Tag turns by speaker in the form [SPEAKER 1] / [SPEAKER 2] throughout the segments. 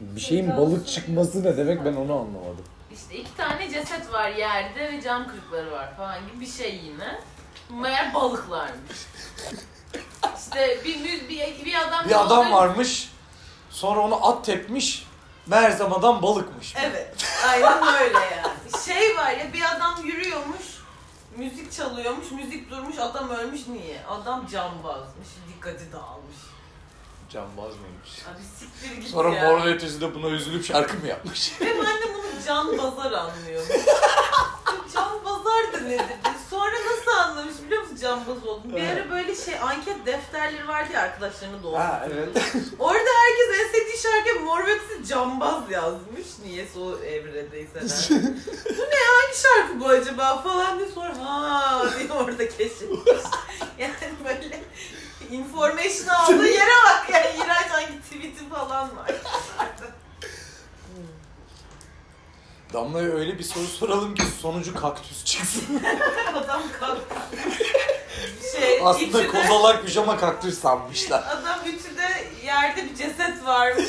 [SPEAKER 1] Bir şeyin balık çıkması ne demek ben onu anlamadım.
[SPEAKER 2] İşte iki tane ceset var yerde ve cam kırıkları var falan gibi bir şey yine. Meğer balıklarmış. işte bir, mü- bir, bir adam...
[SPEAKER 3] Bir adam varmış. Sonra onu at tepmiş. Meğersem adam balıkmış.
[SPEAKER 2] Evet. Aynen öyle yani. Şey var ya bir adam yürüyormuş. Müzik çalıyormuş. Müzik durmuş. Adam ölmüş niye? Adam cambazmış. Dikkati dağılmış.
[SPEAKER 3] Cambaz mıymış?
[SPEAKER 2] Abi siktir git
[SPEAKER 3] Sonra
[SPEAKER 2] ya.
[SPEAKER 3] Mor ve Ötesi de buna üzülüp şarkı mı yapmış?
[SPEAKER 2] Ve ben de bunu can bazar anlıyorum. can bazar da nedir? Sonra nasıl anlamış biliyor musun can bazar olduğunu? Bir ara böyle şey anket defterleri vardı ya arkadaşlarını doğru.
[SPEAKER 3] ha evet.
[SPEAKER 2] Orada herkes en sevdiği şarkıya Mor ve Ötesi Cambaz yazmış. Niyeyse o evredeyseler. bu ne hangi şarkı bu acaba falan diye sonra ha diye orada keşfetmiş. yani böyle information aldığı yere bak yani iğrenç hangi tweet'i falan var.
[SPEAKER 3] Damla'ya öyle bir soru soralım ki sonucu kaktüs çıksın.
[SPEAKER 2] Adam kalk. Şey,
[SPEAKER 3] Aslında
[SPEAKER 2] ütüde-
[SPEAKER 3] kozalakmış ama kaktüs sanmışlar.
[SPEAKER 2] Adam ütüde yerde bir ceset varmış.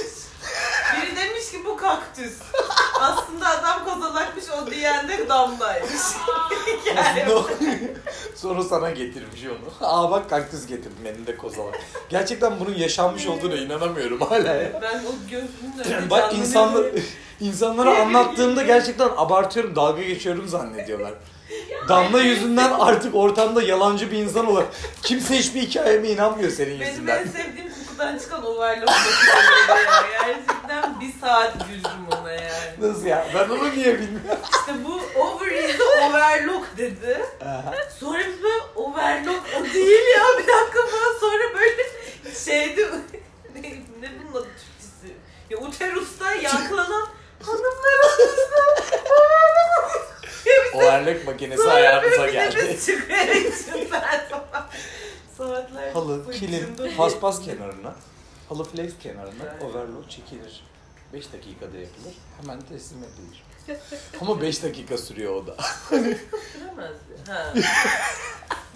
[SPEAKER 2] Biri demiş ki bu kaktüs. Aslında adam kozalakmış o diyen de damlaymış. yani
[SPEAKER 3] Aslında o- Sonra sana getirmiş onu. Aa bak kaktüs getirdim elinde kozalak. Gerçekten bunun
[SPEAKER 2] Ee.
[SPEAKER 3] yaşanmış olduğuna inanamıyorum hala ya.
[SPEAKER 2] ben o gözümün önünde
[SPEAKER 3] Bak
[SPEAKER 2] canlı
[SPEAKER 3] insanlar,
[SPEAKER 2] bir-
[SPEAKER 3] insanlara anlattığımda gerçekten abartıyorum, dalga geçiyorum zannediyorlar. Damla yüzünden artık ortamda yalancı bir insan olarak kimse hiçbir hikayeme inanmıyor senin
[SPEAKER 2] Benim
[SPEAKER 3] yüzünden.
[SPEAKER 2] en sevdiğim kokudan çıkan overlock kokusu ya. Gerçekten bir saat güldüm ona yani.
[SPEAKER 3] Nasıl ya? Ben onu niye bilmiyorum?
[SPEAKER 2] İşte bu overreach overlock dedi. Sonra biz böyle overlock o değil ya bir dakika falan sonra böyle şeydi ne, ne bunun adı Türkçesi? Ya uterusta yaklanan hanımlar odası. ya
[SPEAKER 3] o
[SPEAKER 2] biz
[SPEAKER 3] erlek makinesi
[SPEAKER 2] sonra
[SPEAKER 3] ayağımıza
[SPEAKER 2] böyle
[SPEAKER 3] geldi.
[SPEAKER 2] nefes çıkıyor içinden falan. Saatler
[SPEAKER 3] Halı,
[SPEAKER 2] boyunca
[SPEAKER 3] kilim,
[SPEAKER 2] böyle-
[SPEAKER 3] paspas kenarına, halı flex kenarına overlock çekilir. 5 dakikada yapılır, hemen teslim edilir. Ama 5 dakika sürüyor o da.
[SPEAKER 2] Süremez şey ya. Ha.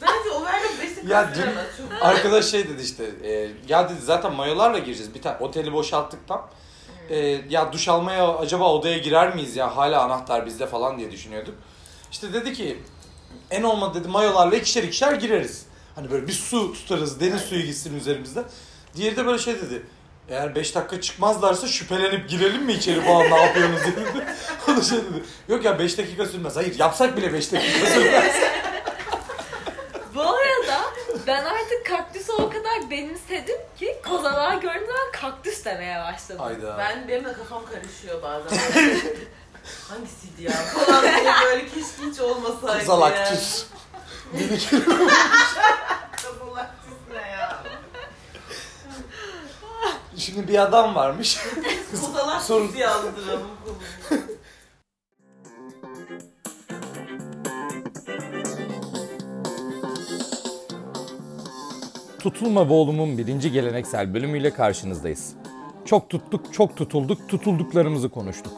[SPEAKER 2] Bence overlock basic
[SPEAKER 3] Ya
[SPEAKER 2] ya,
[SPEAKER 3] dün-
[SPEAKER 2] süremez. Çok
[SPEAKER 3] Arkadaş şey dedi işte, e, ya dedi zaten mayolarla gireceğiz. Bir tane oteli boşalttık tam. E, ya duş almaya acaba odaya girer miyiz ya hala anahtar bizde falan diye düşünüyorduk. İşte dedi ki en olmadı dedi mayolarla ikişer ikişer gireriz. Hani böyle bir su tutarız deniz suyu gitsin üzerimizde. Diğeri de böyle şey dedi. Eğer 5 dakika çıkmazlarsa şüphelenip girelim mi içeri falan ne yapıyorsunuz dedi. O da şey dedi. Yok ya 5 dakika sürmez. Hayır yapsak bile 5 dakika sürmez.
[SPEAKER 4] Bu arada ben artık kaktüsü o kadar benimsedim ki kozalağı gördüğüm zaman kaktüs demeye başladım.
[SPEAKER 3] Hayda.
[SPEAKER 2] Ben benim de kafam karışıyor bazen. Hangisiydi ya? Falan diye böyle keşke hiç olmasaydı.
[SPEAKER 3] Zalaktüs.
[SPEAKER 2] ya. Kızalaktüs ne ya?
[SPEAKER 3] Şimdi bir adam varmış. Sorun.
[SPEAKER 2] Kızalaktüs yazdıralım.
[SPEAKER 5] Tutulma Boğulum'un birinci geleneksel bölümüyle karşınızdayız. Çok tuttuk, çok tutulduk, tutulduklarımızı konuştuk.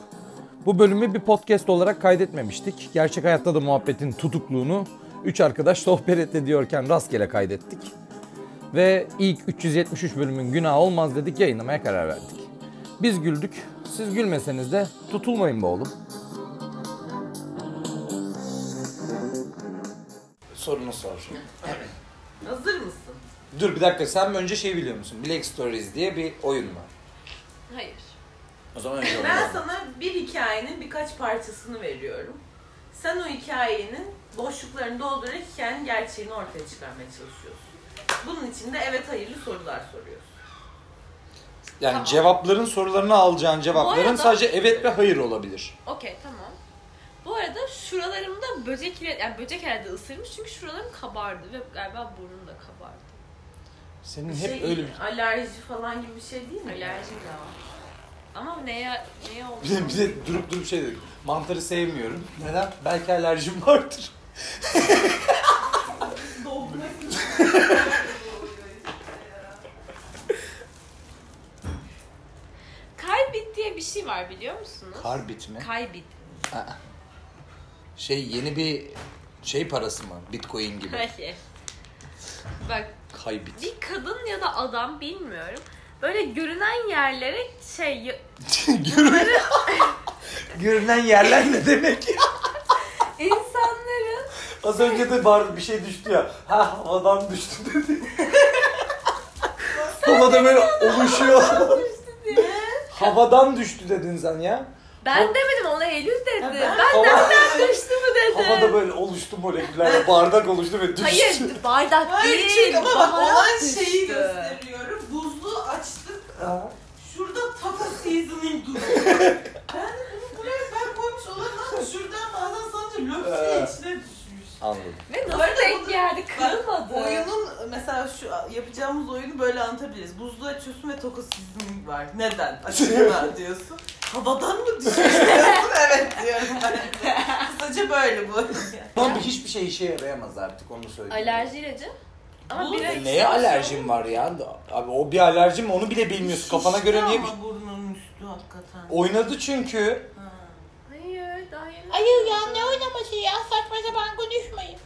[SPEAKER 5] Bu bölümü bir podcast olarak kaydetmemiştik. Gerçek hayatta da muhabbetin tutukluğunu üç arkadaş sohbet ediyorken rastgele kaydettik. Ve ilk 373 bölümün günah olmaz dedik yayınlamaya karar verdik. Biz güldük, siz gülmeseniz de tutulmayın be oğlum.
[SPEAKER 3] Sorunu sor.
[SPEAKER 2] Hazır mısın?
[SPEAKER 3] Dur bir dakika sen önce şey biliyor musun? Black Stories diye bir oyun var.
[SPEAKER 4] Hayır.
[SPEAKER 3] O zaman önce onu
[SPEAKER 2] Ben
[SPEAKER 3] anlat.
[SPEAKER 2] sana bir hikayenin birkaç parçasını veriyorum. Sen o hikayenin boşluklarını doldurarak hikayenin gerçeğini ortaya çıkarmaya çalışıyorsun. Bunun için de evet hayırlı sorular soruyorsun.
[SPEAKER 3] Yani
[SPEAKER 4] Tamam.
[SPEAKER 3] cevapların sorularını alacağın cevapların
[SPEAKER 4] arada-
[SPEAKER 3] sadece evet ve hayır olabilir.
[SPEAKER 4] Okey tamam. Bu arada şuralarımda böcek ile yani böcek herhalde ısırmış çünkü şuralarım kabardı ve galiba burnum da kabardı.
[SPEAKER 3] Senin
[SPEAKER 2] Şey,
[SPEAKER 3] hep öyle bir...
[SPEAKER 2] Alerji falan gibi bir şey değil mi?
[SPEAKER 4] Alerjim de var. Ama neye neye oldu?
[SPEAKER 3] Bir de, bir de durup durup şey dedik. Mantarı sevmiyorum. Neden? Belki alerjim vardır.
[SPEAKER 4] Kaybit diye bir şey var biliyor musunuz?
[SPEAKER 3] Karbit mi?
[SPEAKER 4] Kaybit.
[SPEAKER 3] Şey yeni bir şey parası mı? Bitcoin gibi.
[SPEAKER 4] Hayır. Bak
[SPEAKER 3] Kaybit.
[SPEAKER 4] bir kadın ya da adam bilmiyorum. Böyle görünen yerlere şey
[SPEAKER 3] Görünen, görünen yerler ne demek ya?
[SPEAKER 4] insanların
[SPEAKER 3] Az önce de bar bir şey düştü ya. Ha havadan düştü dedi. Havada böyle oluşuyor. havadan düştü dedin sen ya.
[SPEAKER 4] ben demedim ona Eylül dedi.
[SPEAKER 2] Ha,
[SPEAKER 4] ben
[SPEAKER 2] ben-
[SPEAKER 4] nereden düştü mü dedim.
[SPEAKER 3] Havada böyle oluştu moleküller. Bardak oluştu ve düştü.
[SPEAKER 4] Hayır bardak
[SPEAKER 2] Hayır
[SPEAKER 4] değil.
[SPEAKER 2] çünkü ama bak
[SPEAKER 4] baharat
[SPEAKER 2] olan şeyi
[SPEAKER 4] düştü.
[SPEAKER 2] gösteriyorum. Buzluğu açtık.
[SPEAKER 3] Ha.
[SPEAKER 2] Şurada taco seasoning duruyor. ben bunu buraya ben koymuş olamam. Şuradan bazen sadece löp diye
[SPEAKER 3] Ee.
[SPEAKER 2] içine düşmüş.
[SPEAKER 3] Anladım.
[SPEAKER 4] Ve
[SPEAKER 2] Bu
[SPEAKER 4] nasıl
[SPEAKER 2] arada
[SPEAKER 4] denk
[SPEAKER 2] bunu-
[SPEAKER 4] geldi kırılmadı.
[SPEAKER 2] Bak, Oyunun mesela şu yapacağımız oyunu böyle anlatabiliriz. Buzluğu açıyorsun ve taco seasoning var. Neden? Açıyorlar diyorsun. Havadan mı düşmüş diyorsun? evet diyorum ben. de. Kısaca böyle bu.
[SPEAKER 3] Ama hiçbir şey işe yarayamaz artık onu söyleyeyim.
[SPEAKER 4] Alerji ilacı. Ama
[SPEAKER 2] Bu-
[SPEAKER 4] bir
[SPEAKER 3] E, Neye alerjim var ya? Abi o bir alerji mi onu bile bilmiyorsun. Kafana göre niye...
[SPEAKER 2] Şişti Ama burnunun üstü hakikaten.
[SPEAKER 3] Oynadı çünkü.
[SPEAKER 2] Ha.
[SPEAKER 4] Hayır daha yeni.
[SPEAKER 6] Hayır ya ne oynaması ya saçma sapan konuşmayın.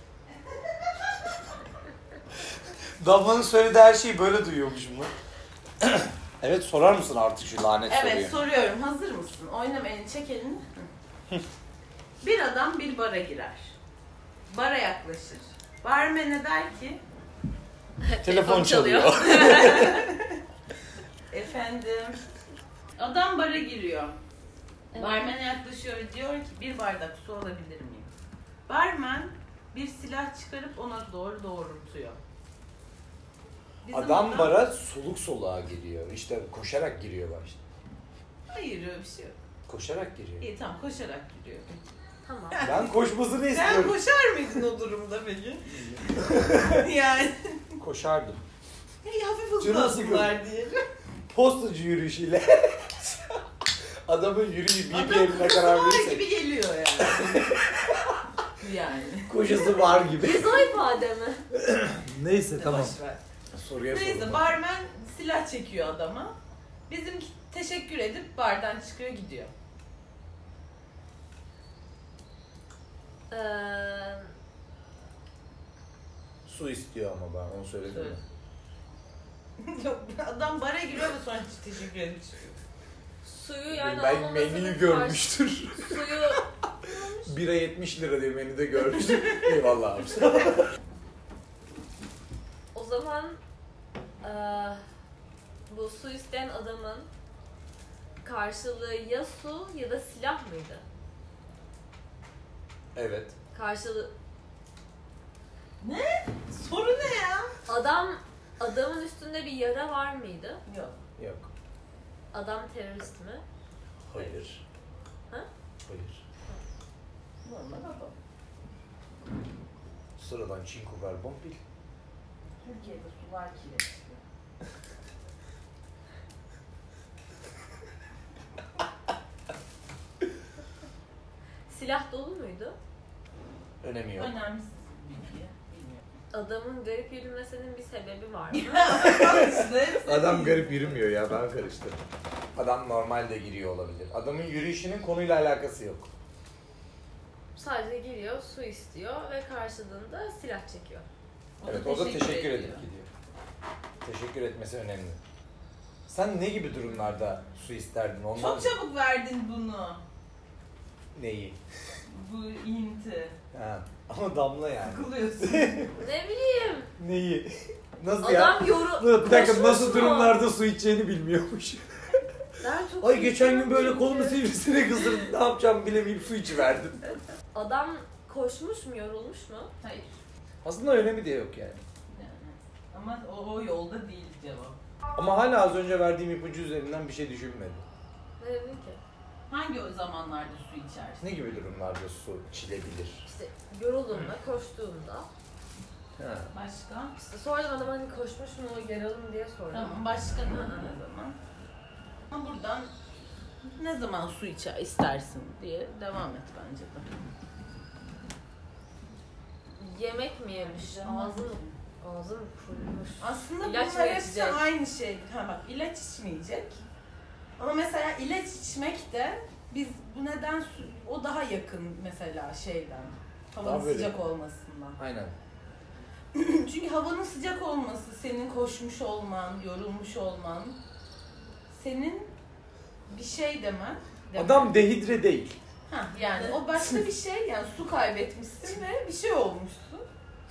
[SPEAKER 3] Damla'nın söylediği her şeyi böyle duyuyormuşum lan. evet sorar mısın artık şu lanet soruyu?
[SPEAKER 2] Evet soruyorum. Hazır mısın? Oynama elini çek elini. bir adam bir bara girer. Bara yaklaşır. Barmen'e der ki
[SPEAKER 3] Telefon çalıyor.
[SPEAKER 2] efendim adam bara giriyor.
[SPEAKER 4] Evet.
[SPEAKER 2] Barmen'e yaklaşıyor ve diyor ki bir bardak su alabilir miyim? Barmen bir silah çıkarıp ona doğru doğrultuyor. Bizim
[SPEAKER 3] Adam bara soluk soluğa giriyor. İşte koşarak giriyor bak işte.
[SPEAKER 2] Hayır öyle bir şey yok.
[SPEAKER 3] Koşarak giriyor.
[SPEAKER 2] İyi tamam koşarak giriyor.
[SPEAKER 4] Tamam.
[SPEAKER 3] Ben koşmasını
[SPEAKER 2] Sen
[SPEAKER 3] istiyorum.
[SPEAKER 2] koşar mıydın o durumda peki? yani.
[SPEAKER 3] Koşardım.
[SPEAKER 2] Hey hafif
[SPEAKER 3] Canım
[SPEAKER 2] hızlı attılar diyelim.
[SPEAKER 3] Postacı yürüyüşüyle. Adamın yürüyüş
[SPEAKER 2] Adam
[SPEAKER 3] BPM'ine karar
[SPEAKER 2] kızlar
[SPEAKER 3] verirsek.
[SPEAKER 2] gibi geliyor yani. yani.
[SPEAKER 3] Kocası var gibi.
[SPEAKER 4] Yüz o ifade mi?
[SPEAKER 3] E,
[SPEAKER 7] Neyse tamam.
[SPEAKER 2] Boş ver.
[SPEAKER 3] Soruya
[SPEAKER 2] Neyse
[SPEAKER 3] sorma.
[SPEAKER 2] barmen silah çekiyor adama. Bizimki teşekkür edip bardan çıkıyor gidiyor.
[SPEAKER 4] Ee,
[SPEAKER 3] Su istiyor ama ben onu söyledim
[SPEAKER 2] Söyle.
[SPEAKER 3] mi?
[SPEAKER 2] Yok, adam bara giriyor ve sonra teşekkür edip çıkıyor.
[SPEAKER 4] suyu yani
[SPEAKER 3] ben
[SPEAKER 4] almamasının
[SPEAKER 3] menüyü
[SPEAKER 4] karşı-
[SPEAKER 3] görmüştür.
[SPEAKER 4] Suyu
[SPEAKER 3] Bira 70 lira diye menüde görmüştür. Eyvallah abi.
[SPEAKER 4] o zaman ee, bu su isteyen adamın karşılığı ya su ya da silah mıydı?
[SPEAKER 3] Evet.
[SPEAKER 4] Karşılığı
[SPEAKER 2] Soru ne ya?
[SPEAKER 4] adam adamın üstünde bir yara var mıydı?
[SPEAKER 2] Yok.
[SPEAKER 3] Yok.
[SPEAKER 4] Adam terörist mi?
[SPEAKER 3] Hayır.
[SPEAKER 4] Ha?
[SPEAKER 3] Hayır.
[SPEAKER 2] Normal adam.
[SPEAKER 3] Sıradan çinko ver bombil.
[SPEAKER 2] Türkiye'de sular kirli.
[SPEAKER 4] Silah dolu muydu?
[SPEAKER 3] Önemi yok.
[SPEAKER 2] Önemsiz bir bilgi. Bilmiyorum.
[SPEAKER 4] Adamın garip yürümesinin bir sebebi var mı?
[SPEAKER 2] İşte-
[SPEAKER 3] Adam garip yürümüyor ya ben karıştırdım. Adam normalde giriyor olabilir. Adamın yürüyüşünün konuyla alakası yok.
[SPEAKER 4] Sadece giriyor, su istiyor ve karşılığında silah çekiyor.
[SPEAKER 2] O da
[SPEAKER 3] evet o da teşekkür edip
[SPEAKER 2] ediyor.
[SPEAKER 3] gidiyor. Teşekkür etmesi önemli. Sen ne gibi durumlarda su isterdin? Ondan
[SPEAKER 2] Çok çabuk verdin bunu.
[SPEAKER 3] neyi?
[SPEAKER 2] Bu inti.
[SPEAKER 3] Ha. Ama damla yani.
[SPEAKER 2] Sıkılıyorsun.
[SPEAKER 4] Ne bileyim,
[SPEAKER 3] Neyi? Nasıl ya?
[SPEAKER 4] adam yoru...
[SPEAKER 3] Bir dakika nasıl
[SPEAKER 4] Koşmuş mu?
[SPEAKER 3] durumlarda su içeceğini bilmiyormuş.
[SPEAKER 4] Ben çok
[SPEAKER 3] Ay geçen gün böyle
[SPEAKER 4] sinirlendim
[SPEAKER 3] kolumu
[SPEAKER 4] ki.
[SPEAKER 3] sivrisine kızdırdım. Ne yapacağımı bilemeyip su içiverdim.
[SPEAKER 4] Adam koşmuş mu, yorulmuş mu?
[SPEAKER 2] Hayır.
[SPEAKER 3] Aslında önemi de yok yani.
[SPEAKER 2] Yani. Ama o, o yolda değil cevap.
[SPEAKER 3] Ama hala az önce verdiğim ipucu üzerinden bir şey düşünmedim.
[SPEAKER 4] Ne dedim ki?
[SPEAKER 2] Hangi o zamanlarda su içersin?
[SPEAKER 3] Ne gibi durumlarda su içilebilir?
[SPEAKER 4] İşte yorulduğumda, koştuğumda.
[SPEAKER 3] Ha.
[SPEAKER 2] Başka?
[SPEAKER 4] İşte sordum adama hani koşmuş mu, yaralı mı diye sordum.
[SPEAKER 2] Tamam başka ne ne zaman? Ama buradan ne zaman su içer istersin diye devam et bence de.
[SPEAKER 4] Yemek mi yemiş? Ağzım, ağzım kurumuş.
[SPEAKER 2] Aslında
[SPEAKER 4] İlaç
[SPEAKER 2] bunlar
[SPEAKER 4] mı
[SPEAKER 2] hepsi
[SPEAKER 4] içecek?
[SPEAKER 2] aynı şey. Ha bak ilaç içmeyecek. Ama mesela ilaç içmek de biz bu neden su- o daha yakın mesela şeyden. Havanın
[SPEAKER 3] Daha böyle.
[SPEAKER 2] sıcak olmasından.
[SPEAKER 3] Aynen.
[SPEAKER 2] Çünkü havanın sıcak olması, senin koşmuş olman, yorulmuş olman senin bir şey demen. demek.
[SPEAKER 3] Adam dehidre değil.
[SPEAKER 2] Ha, yani o başka bir şey yani su kaybetmişsin ve bir şey olmuşsun.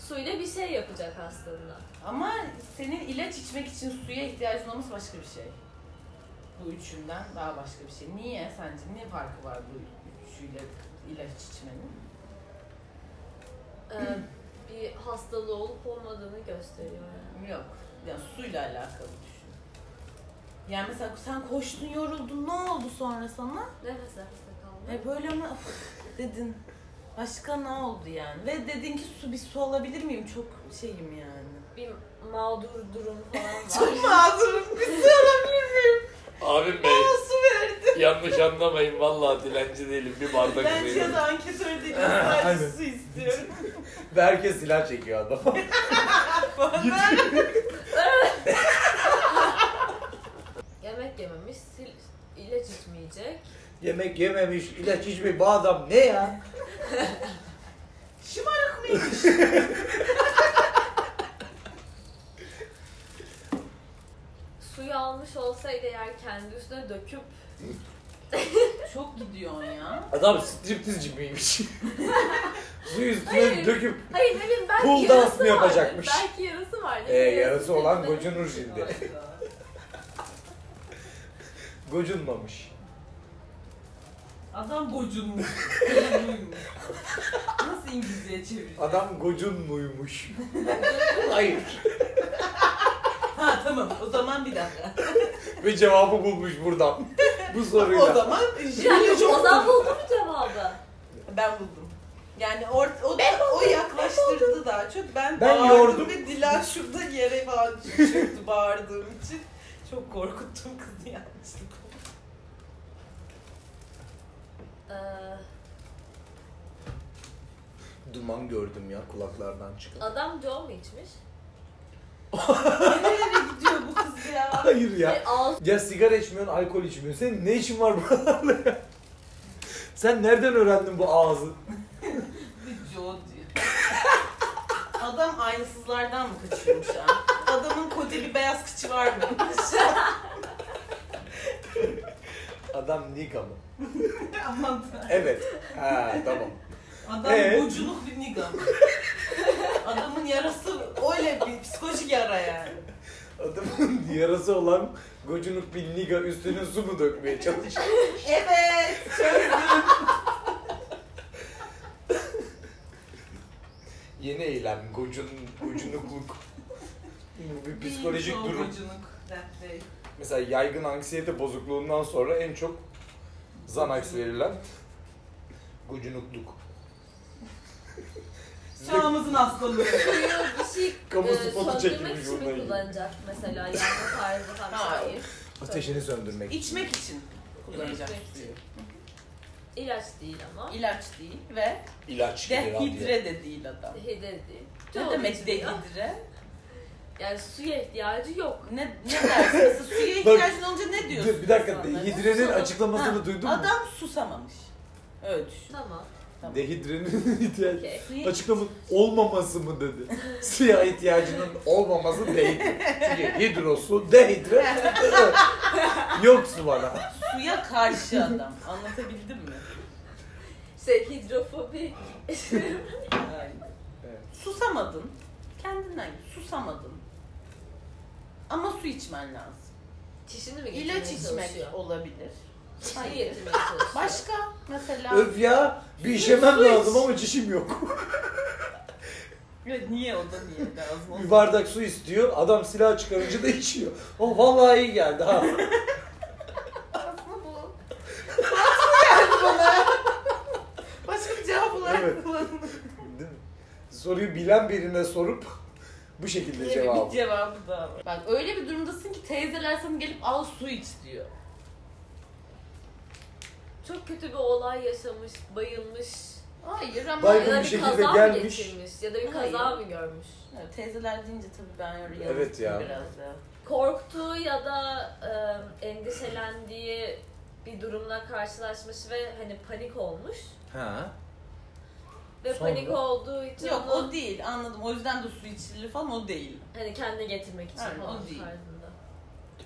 [SPEAKER 4] Suyla bir şey yapacak aslında.
[SPEAKER 2] Ama senin ilaç içmek için suya ihtiyacın olması başka bir şey. Bu üçünden daha başka bir şey. Niye sence? Ne farkı var bu üçüyle ilaç içmenin?
[SPEAKER 4] Ee, bir hastalığı olup olmadığını gösteriyor yani.
[SPEAKER 2] Yok. Yani suyla alakalı düşün. Yani mesela sen koştun yoruldun ne oldu sonra sana?
[SPEAKER 4] Nefes nefese kalmak.
[SPEAKER 2] E böyle mi Of, dedin. Başka ne oldu yani? Ve dedin ki su bir su alabilir miyim? Çok şeyim yani.
[SPEAKER 4] Bir mağdur durum falan var.
[SPEAKER 8] Çok mağdurum. Bir su alabilir miyim?
[SPEAKER 9] Abim bey
[SPEAKER 8] Bana su verdi.
[SPEAKER 9] yanlış anlamayın vallahi dilenci değilim bir bardak
[SPEAKER 8] Ben
[SPEAKER 9] veriyorum.
[SPEAKER 8] ya da anketör değilim. Sadece su istiyorum.
[SPEAKER 3] Ve herkes silah çekiyor adam.
[SPEAKER 4] Yemek yememiş, sil- ilaç içmeyecek.
[SPEAKER 3] Yemek yememiş, ilaç içmemiş. Bu adam ne ya?
[SPEAKER 8] Şımarık mıymış?
[SPEAKER 4] Suyu almış olsaydı eğer kendi üstüne döküp
[SPEAKER 2] Çok gidiyorsun ya.
[SPEAKER 3] Adam striptizci miymiş? Suyu üstüne
[SPEAKER 4] Hayır.
[SPEAKER 3] döküp
[SPEAKER 4] Hayır ne bileyim belki
[SPEAKER 3] Pool
[SPEAKER 4] yarası
[SPEAKER 3] dansını
[SPEAKER 4] vardır.
[SPEAKER 3] yapacakmış.
[SPEAKER 4] Belki yarası var. ne
[SPEAKER 3] Ee,
[SPEAKER 4] bileyim,
[SPEAKER 3] yarası olan
[SPEAKER 4] üstüne-
[SPEAKER 3] gocunur şimdi. gocunmamış.
[SPEAKER 2] Adam gocunmuş. Nasıl İngilizceye çevirecek?
[SPEAKER 3] Adam gocun muymuş? Hayır.
[SPEAKER 2] Ha tamam o zaman bir dakika.
[SPEAKER 3] Ve cevabı bulmuş buradan. Bu
[SPEAKER 8] o
[SPEAKER 3] soruyla.
[SPEAKER 8] zaman
[SPEAKER 4] Bir dakika,
[SPEAKER 8] jüri çok
[SPEAKER 4] o zaman buldu mu cevabı?
[SPEAKER 8] Ben buldum. Yani or, o, da, o yaklaştırdı daha çok. Ben,
[SPEAKER 3] Ben
[SPEAKER 8] bağırdım
[SPEAKER 3] yordum.
[SPEAKER 8] ve Dila şurada yere falan çöktü bağırdığım için. Çok korkuttum kızı yanlışlıkla.
[SPEAKER 4] Ee,
[SPEAKER 3] Duman gördüm ya kulaklardan çıkan.
[SPEAKER 4] adam Joe mu içmiş?
[SPEAKER 2] Nereye gidiyor bu kız ya?
[SPEAKER 3] Hayır ya.
[SPEAKER 4] Ve ağız
[SPEAKER 3] Ya sigara içmiyorsun, alkol içmiyorsun. Senin ne işin var buralarda ya? Sen nereden öğrendin bu ağzı?
[SPEAKER 2] Bir Joe diyor. Adam aynısızlardan mı kaçıyormuş ha?
[SPEAKER 8] Adamın kodeli beyaz kıçı var mı?
[SPEAKER 3] Adam Nika mı?
[SPEAKER 2] Aman
[SPEAKER 3] Evet. Ha tamam.
[SPEAKER 8] Adam
[SPEAKER 3] Ee?
[SPEAKER 8] boculuk bir nigam. Adamın yarası öyle bir psikolojik yara yani.
[SPEAKER 3] Adamın yarası olan gocunuk bir Nika üstüne su mu dökmeye çalışıyor?
[SPEAKER 8] Evet.
[SPEAKER 3] Yeni eylem gocun, gocunukluk. Bu bir psikolojik
[SPEAKER 8] Çoğu
[SPEAKER 3] durum.
[SPEAKER 8] Boculuk. that day.
[SPEAKER 3] Mesela yaygın anksiyete bozukluğundan sonra en çok Xanax verilen gocunukluk. Size
[SPEAKER 8] Çağımızın hastalığı.
[SPEAKER 4] suyu bir şey
[SPEAKER 3] Kamu
[SPEAKER 4] e,
[SPEAKER 3] spotu
[SPEAKER 4] söndürmek
[SPEAKER 3] çekilmiş
[SPEAKER 4] için mi
[SPEAKER 3] bununla ilgili.
[SPEAKER 4] kullanacak mesela yanma tarzı falan
[SPEAKER 8] Hayır.
[SPEAKER 4] Hayır.
[SPEAKER 3] ateşini söndürmek.
[SPEAKER 8] İçmek için kullanacak.
[SPEAKER 4] İlaç değil ama.
[SPEAKER 2] İlaç değil ve
[SPEAKER 3] İlaç gibi radyo.
[SPEAKER 2] dehidre de değil adam.
[SPEAKER 4] Hede değil.
[SPEAKER 2] Ne
[SPEAKER 4] Joe
[SPEAKER 2] demek
[SPEAKER 4] içmiyor.
[SPEAKER 2] dehidre?
[SPEAKER 4] Yani suya ihtiyacı yok.
[SPEAKER 2] Ne, ne dersin? Mesela suya ihtiyacın olunca ne diyorsun?
[SPEAKER 3] Dur, bir dakika
[SPEAKER 2] insanlara?
[SPEAKER 3] dehidrenin
[SPEAKER 4] Sonra-
[SPEAKER 3] açıklamasını duydun mu?
[SPEAKER 2] Adam susamamış. Öyle düşün.
[SPEAKER 4] Tamam.
[SPEAKER 2] Tamam.
[SPEAKER 3] Dehidrenin ihtiyacı
[SPEAKER 4] Okey.
[SPEAKER 2] Suya
[SPEAKER 3] açıklaması olmaması mı dedi. Siyah ihtiyacının olmaması dehidre. Çünkü hidrosu dehidre. Yok su bana.
[SPEAKER 2] Suya karşı adam. Anlatabildim mi?
[SPEAKER 4] Şey hidrofobi.
[SPEAKER 2] Aynen.
[SPEAKER 3] Evet.
[SPEAKER 2] Susamadın. Kendinden git. susamadın. Ama su içmen lazım.
[SPEAKER 4] Çişini mi getirmeye
[SPEAKER 2] İlaç içmek
[SPEAKER 4] çalışıyor?
[SPEAKER 2] olabilir.
[SPEAKER 4] Suyu getirmeye çalışıyor.
[SPEAKER 2] Başka mesela
[SPEAKER 3] Öf ya bir işemem lazım ama çişim yok.
[SPEAKER 2] Evet, niye o da niye lazım?
[SPEAKER 3] Bir bardak su istiyor adam silah çıkarınca da içiyor. O vallahi iyi geldi ha.
[SPEAKER 8] Başka bir cevap olarak
[SPEAKER 3] Evet.
[SPEAKER 8] kullanılır.
[SPEAKER 3] Değil mi? Soruyu bilen birine sorup bu şekilde
[SPEAKER 2] Öyle bir
[SPEAKER 3] cevabı.
[SPEAKER 2] cevabı daha var. Bak öyle bir durumdasın ki teyzeler sana gelip al su iç diyor.
[SPEAKER 4] Çok kötü bir olay yaşamış, bayılmış.
[SPEAKER 2] Hayır ama
[SPEAKER 3] Baygın
[SPEAKER 4] Ya da
[SPEAKER 3] bir
[SPEAKER 4] bir
[SPEAKER 3] şekilde
[SPEAKER 4] kaza mı
[SPEAKER 3] gelmiş.
[SPEAKER 4] geçirmiş? Ya da bir
[SPEAKER 2] Hayır.
[SPEAKER 4] kaza mı görmüş?
[SPEAKER 2] Evet, teyzeler deyince tabii ben öyle
[SPEAKER 3] Evet ya.
[SPEAKER 2] biraz ya.
[SPEAKER 4] korktuğu ya da e, endişelendiği bir durumla karşılaşmış ve hani panik olmuş.
[SPEAKER 3] Ha.
[SPEAKER 4] Ve
[SPEAKER 3] Sonra?
[SPEAKER 4] panik olduğu için
[SPEAKER 2] Yok
[SPEAKER 4] onu
[SPEAKER 2] o değil anladım. O yüzden de su içilir falan o değil.
[SPEAKER 4] hani kendine getirmek için
[SPEAKER 2] Aynen, o
[SPEAKER 4] falan
[SPEAKER 2] değil.
[SPEAKER 4] tarzında.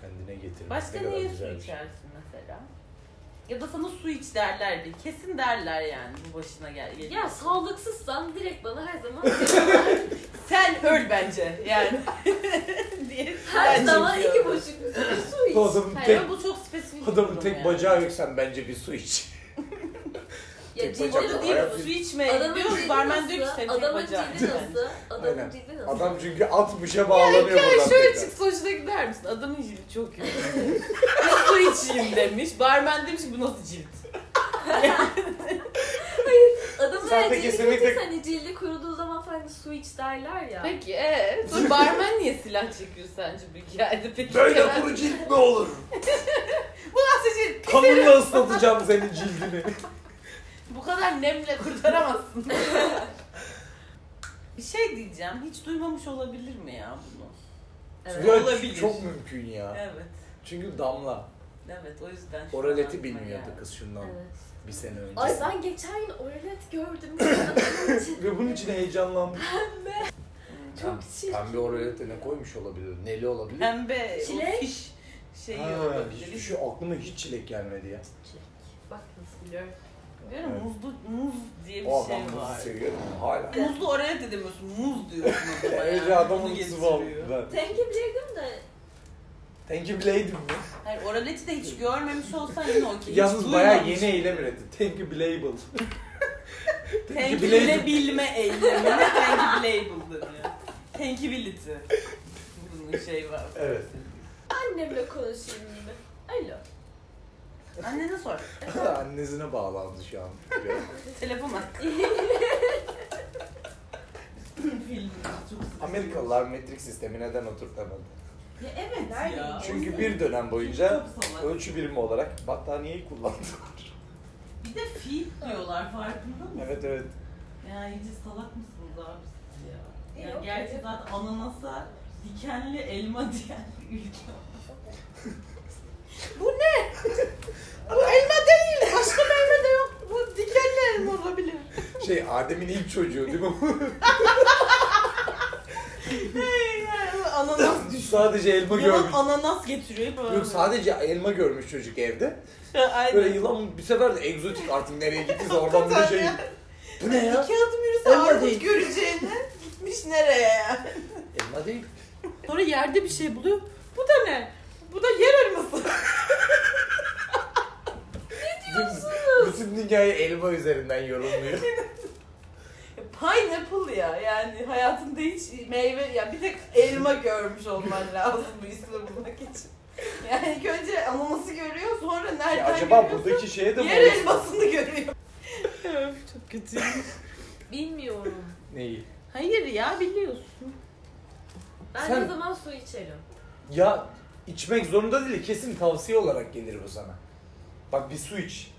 [SPEAKER 3] Kendine getirmek
[SPEAKER 2] Başka
[SPEAKER 3] ne kadar
[SPEAKER 2] niye su
[SPEAKER 3] güzel bir şey.
[SPEAKER 2] içersin mesela? Ya da sana su iç derler bir. Kesin derler yani bu başına gel. gel-
[SPEAKER 4] Ya sağlıksızsan direkt bana her zaman
[SPEAKER 2] sen öl bence yani. diye
[SPEAKER 4] her
[SPEAKER 2] bence
[SPEAKER 4] zaman
[SPEAKER 2] diyor.
[SPEAKER 4] iki buçuk litre su iç.
[SPEAKER 3] Bu adamın
[SPEAKER 2] Hayır
[SPEAKER 3] tek,
[SPEAKER 2] ama bu çok spesifik bir
[SPEAKER 3] adamın
[SPEAKER 2] durum
[SPEAKER 3] tek
[SPEAKER 2] yani.
[SPEAKER 3] bacağı yoksan bence bir su iç.
[SPEAKER 4] Ya
[SPEAKER 3] tek
[SPEAKER 4] cildi
[SPEAKER 3] bacak
[SPEAKER 2] Orada
[SPEAKER 4] nasıl?
[SPEAKER 3] var.
[SPEAKER 2] değil
[SPEAKER 3] Ayak-
[SPEAKER 2] su içme.
[SPEAKER 4] Adamın
[SPEAKER 2] diyor
[SPEAKER 4] cildi
[SPEAKER 2] barmen Şey, diyor ki
[SPEAKER 4] nasıl?
[SPEAKER 2] senin tek
[SPEAKER 4] Adamın
[SPEAKER 2] bacağın.
[SPEAKER 4] cildi nasıl?
[SPEAKER 3] Aynen.
[SPEAKER 4] Adamın cildi nasıl?
[SPEAKER 3] Adam çünkü 60'a bağlanıyor buradan
[SPEAKER 2] Şöyle
[SPEAKER 3] tekrar.
[SPEAKER 2] çık sonucuna gider misin? Adamın cildi çok kötü. su içeyim demiş. Barmen demiş ki bu nasıl cilt?
[SPEAKER 4] Adamın
[SPEAKER 3] Sen de
[SPEAKER 4] her cildi
[SPEAKER 3] kesinlikle-
[SPEAKER 4] kötüyse hani cildi kuruduğu zaman falan hani su iç derler ya.
[SPEAKER 2] Peki ee, sonra barmen niye silah çekiyor sence bu hikayede peki?
[SPEAKER 3] Böyle
[SPEAKER 2] Kenan?
[SPEAKER 3] kuru cilt mi olur?
[SPEAKER 2] Bu nasıl cilt?
[SPEAKER 3] Kanımla ıslatacağım senin cildini.
[SPEAKER 2] Bu kadar nemle kurtaramazsın. bir şey diyeceğim. Hiç duymamış olabilir mi ya bunu?
[SPEAKER 4] Evet.
[SPEAKER 3] Ya,
[SPEAKER 2] Olabilir.
[SPEAKER 3] Çok mümkün ya.
[SPEAKER 2] Evet.
[SPEAKER 3] Çünkü Damla
[SPEAKER 2] Evet o yüzden. şu an
[SPEAKER 3] oraleti
[SPEAKER 2] aklıma
[SPEAKER 3] bilmiyordu
[SPEAKER 2] geldi.
[SPEAKER 3] kız şundan
[SPEAKER 4] Evet.
[SPEAKER 3] bir sene önce.
[SPEAKER 4] Ay ben geçen gün oralet gördüm. Adamın cildi
[SPEAKER 3] Ve bunun için heyecanlandım.
[SPEAKER 2] Hmm.
[SPEAKER 4] Çok çirkin.
[SPEAKER 3] Pembe oralete ne koymuş olabilir? Neli olabilir?
[SPEAKER 2] Pembe.
[SPEAKER 4] Çilek.
[SPEAKER 2] o Fiş şeyi
[SPEAKER 3] Ha, hiçbir
[SPEAKER 2] olabilir.
[SPEAKER 3] şey aklıma hiç çilek gelmedi ya.
[SPEAKER 4] Bak nasıl biliyorum.
[SPEAKER 2] Biliyor musun? Muzlu, muz diye bir
[SPEAKER 3] O
[SPEAKER 2] şey
[SPEAKER 3] adam
[SPEAKER 2] var.
[SPEAKER 3] bunu seviyorum hala.
[SPEAKER 2] Muzlu oraya da demiyorsun, muz diyorsun adama
[SPEAKER 3] Evet
[SPEAKER 2] yani.
[SPEAKER 3] adamın
[SPEAKER 2] Muzu
[SPEAKER 3] sıvam.
[SPEAKER 2] getiriyor.
[SPEAKER 3] Ben.
[SPEAKER 4] Tenkimliydim de
[SPEAKER 3] Thank you Blade'im mi?
[SPEAKER 2] Hayır oraleti de hiç görmemiş olsan yine okey. Hiç
[SPEAKER 3] Yalnız bayağı
[SPEAKER 2] duymamış.
[SPEAKER 3] yeni eylem üretti. Thank you Blable. Thank you Blade.
[SPEAKER 2] Tenkibilebilme eylemine tenkibilable deniyor. Tenkibility. Bunun şey var.
[SPEAKER 3] Evet.
[SPEAKER 4] annemle konuşayım gibi. Alo.
[SPEAKER 2] Annene sor.
[SPEAKER 3] Annesine bağlandı şu an.
[SPEAKER 2] Telefon at. Film çok sıkıcı.
[SPEAKER 3] Amerikalılar metrik sistemi neden oturtamadı?
[SPEAKER 2] Ya evet ya.
[SPEAKER 3] Çünkü bir dönem boyunca
[SPEAKER 2] Çok salak.
[SPEAKER 3] ölçü birimi olarak battaniyeyi kullandılar.
[SPEAKER 2] Bir de fil diyorlar farkında mısın?
[SPEAKER 3] evet evet.
[SPEAKER 2] Ya iyice salak mısınız abi siz ya? Ya
[SPEAKER 4] İyi, okey.
[SPEAKER 2] gerçi zaten ananasa dikenli elma diyen bir ülke. Bu ne? Bu elma değil. Başka meyve de yok. Bu dikenli elma olabilir.
[SPEAKER 3] Şey Adem'in ilk çocuğu değil mi?
[SPEAKER 2] Hey, yani bu ananas.
[SPEAKER 3] sadece elma
[SPEAKER 2] Yalan
[SPEAKER 3] görmüş.
[SPEAKER 2] ananas getiriyor falan.
[SPEAKER 3] Yok sadece elma görmüş çocuk evde.
[SPEAKER 2] Aynen.
[SPEAKER 3] Böyle yılan bir sefer de egzotik artık nereye gittiyse oradan bir şey. Bu ne ya?
[SPEAKER 2] İki adım yürüse
[SPEAKER 3] Elma
[SPEAKER 2] Armut
[SPEAKER 3] değil.
[SPEAKER 2] göreceğine gitmiş nereye ya?
[SPEAKER 3] Elma değil.
[SPEAKER 2] Sonra yerde bir şey buluyor. Bu da ne? Bu da yer elması.
[SPEAKER 3] Bütün dünyaya elma üzerinden yorumluyor.
[SPEAKER 2] Pineapple ya yani hayatında hiç meyve ya bir tek elma görmüş olman lazım bu ismi bulmak için. Yani ilk önce ananası görüyor sonra
[SPEAKER 3] Ya
[SPEAKER 2] nereden
[SPEAKER 3] acaba
[SPEAKER 2] görüyorsa
[SPEAKER 3] buradaki şeye de mi
[SPEAKER 2] yer elmasını görüyor. Çok kötü.
[SPEAKER 4] Bilmiyorum.
[SPEAKER 3] Neyi?
[SPEAKER 2] Hayır ya biliyorsun.
[SPEAKER 4] Ben
[SPEAKER 3] Sen-
[SPEAKER 4] ne zaman su içerim.
[SPEAKER 3] Ya içmek zorunda değil kesin tavsiye olarak gelir bu sana. Bak bir su iç.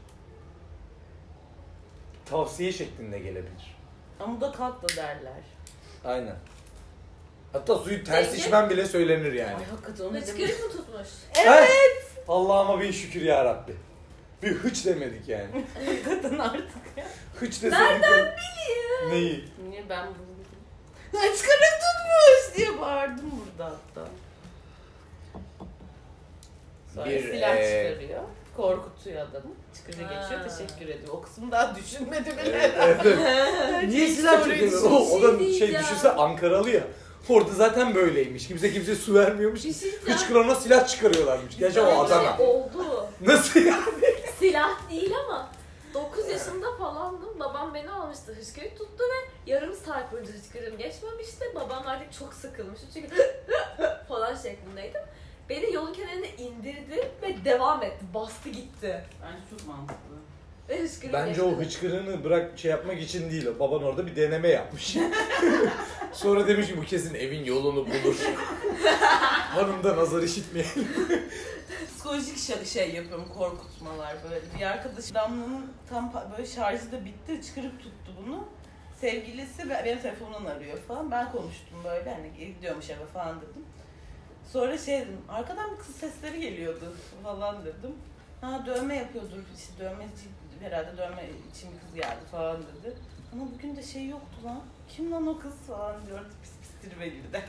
[SPEAKER 3] Tavsiye şeklinde gelebilir.
[SPEAKER 2] Ama da tat da derler.
[SPEAKER 3] Aynen. Hatta suyu ters
[SPEAKER 4] Peki.
[SPEAKER 3] içmem bile söylenir yani.
[SPEAKER 2] Ay hakikaten onu demek.
[SPEAKER 4] Hıçkırık mı tutmuş?
[SPEAKER 3] Evet. Allah'ıma bin şükür ya Rabbi. Bir hıç demedik yani.
[SPEAKER 2] Hakikaten artık.
[SPEAKER 3] Hıç deseydik. Nereden biliyor? Neyi?
[SPEAKER 2] Niye ben bunu Hıçkırık tutmuş diye bağırdım burada hatta. Sonra
[SPEAKER 3] Bir, e,
[SPEAKER 2] silah
[SPEAKER 3] eee,
[SPEAKER 2] çıkarıyor. Korkutuyor adamı. Çıkınca
[SPEAKER 4] Ha.
[SPEAKER 2] geçiyor teşekkür ediyor. O kısmı daha düşünmedi bile.
[SPEAKER 3] Evet, evet. Niye silah
[SPEAKER 2] soruyu
[SPEAKER 3] çekiyorsun?
[SPEAKER 2] düşün-
[SPEAKER 3] O, o da
[SPEAKER 4] şey
[SPEAKER 3] şey
[SPEAKER 4] diyeceğim.
[SPEAKER 3] düşünse Ankaralı ya. Orada zaten böyleymiş. Kimse kimseye su vermiyormuş.
[SPEAKER 4] Bir şey diyeceğim.
[SPEAKER 3] Hıçkırana silah çıkarıyorlarmış. Gerçi o
[SPEAKER 4] Böyle
[SPEAKER 3] Adana.
[SPEAKER 4] Oldu.
[SPEAKER 3] Nasıl ya?
[SPEAKER 4] Silah değil ama 9 yaşında falandım. Babam beni almıştı. Hıçkırık tuttu ve yarım saat boyunca hıçkırığım geçmemişti. Babam artık çok sıkılmıştı çünkü falan şeklindeydim. Beni yolun kenarına indirdi ve devam etti. Bastı gitti.
[SPEAKER 2] Bence çok mantıklı.
[SPEAKER 4] Ve hıçkırık
[SPEAKER 3] Bence o hıçkırığını bırak şey yapmak için değil. o. Baban orada bir deneme yapmış. Sonra demiş ki bu kesin evin yolunu bulur. Hanımdan azar işitmeyelim.
[SPEAKER 2] Psikolojik şey, şey yapıyorum korkutmalar böyle. Bir arkadaş Damla'nın tam pa- böyle şarjı da bitti çıkarıp tuttu bunu. Sevgilisi be- benim telefonumdan arıyor falan. Ben konuştum böyle hani gidiyormuş eve falan dedim. Sonra şey dedim arkadan bir kız sesleri geliyordu falan dedim. Ha dövme yapıyordur işte dövmeci herhalde dövme için bir kız geldi falan dedi. Ama bugün de şey yoktu lan. Kim lan o kız falan diyordu pis pis tribe girdi.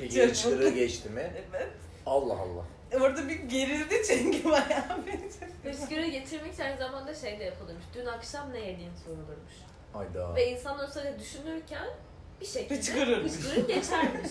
[SPEAKER 3] Peki hıçkırığı geçti mi?
[SPEAKER 2] Evet.
[SPEAKER 1] Allah Allah.
[SPEAKER 10] Orada bir gerildi çünkü bayağı
[SPEAKER 2] şey.
[SPEAKER 10] bir.
[SPEAKER 4] Hüskür'e getirmek için aynı zamanda şey de yapılırmış. Dün akşam ne yediğin sorulurmuş.
[SPEAKER 1] Hayda.
[SPEAKER 4] Ve insanlar sadece düşünürken bir şekilde
[SPEAKER 10] Hıçkırırmış.
[SPEAKER 4] hıçkırık geçermiş.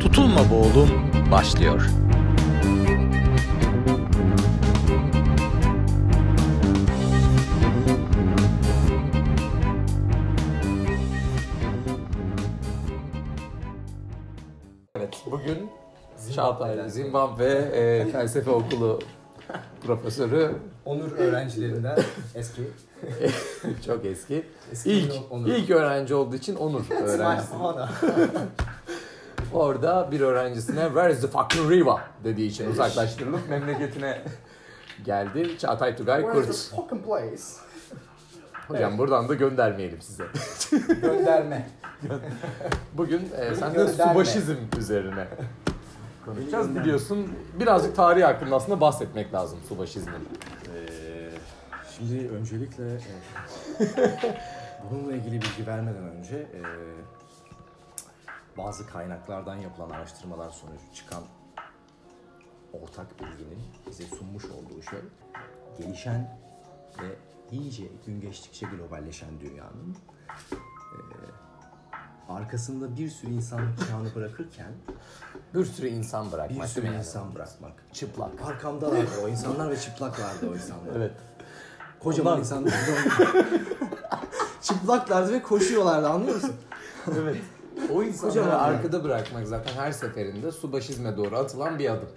[SPEAKER 3] Tutulma boğulum başlıyor. Evet, bugün Çağatay Zimbabwe e, Felsefe Okulu profesörü
[SPEAKER 11] Onur öğrencilerinden eski.
[SPEAKER 3] çok eski.
[SPEAKER 11] eski
[SPEAKER 3] İlk,
[SPEAKER 11] Onur.
[SPEAKER 3] ilk öğrenci olduğu için Onur öğrenci.
[SPEAKER 11] Ana.
[SPEAKER 3] Orada bir öğrencisine where is the fucking river dediği için uzaklaştırılıp memleketine geldi. Çağatay Tugay
[SPEAKER 11] Where's the
[SPEAKER 3] Kurt.
[SPEAKER 11] fucking place?
[SPEAKER 3] Hocam buradan da göndermeyelim size.
[SPEAKER 11] Gönderme.
[SPEAKER 3] Bugün e, sen de
[SPEAKER 11] Gönderme.
[SPEAKER 3] subaşizm üzerine konuşacağız. Biliyorsun birazcık tarih hakkında aslında bahsetmek lazım subaşizmin.
[SPEAKER 11] Ee, Şimdi öncelikle e, bununla ilgili bilgi vermeden önce e, bazı kaynaklardan yapılan araştırmalar sonucu çıkan ortak bilginin bize sunmuş olduğu şey gelişen ve iyice gün geçtikçe globalleşen dünyanın e, arkasında bir sürü insan çağını bırakırken
[SPEAKER 3] Bir sürü insan
[SPEAKER 11] bir
[SPEAKER 3] bırakmak
[SPEAKER 11] sürü
[SPEAKER 3] değil mi?
[SPEAKER 11] insan bırakmak.
[SPEAKER 3] Çıplak.
[SPEAKER 11] Arkamdalardı o insanlar ve çıplaklardı o insanlar.
[SPEAKER 3] Evet.
[SPEAKER 11] Kocaman insanlar. Çıplaklardı ve koşuyorlardı anlıyor musun?
[SPEAKER 3] Evet. O insanları
[SPEAKER 11] Kocaman yani.
[SPEAKER 3] arkada bırakmak zaten her seferinde subaşizme doğru atılan bir adım.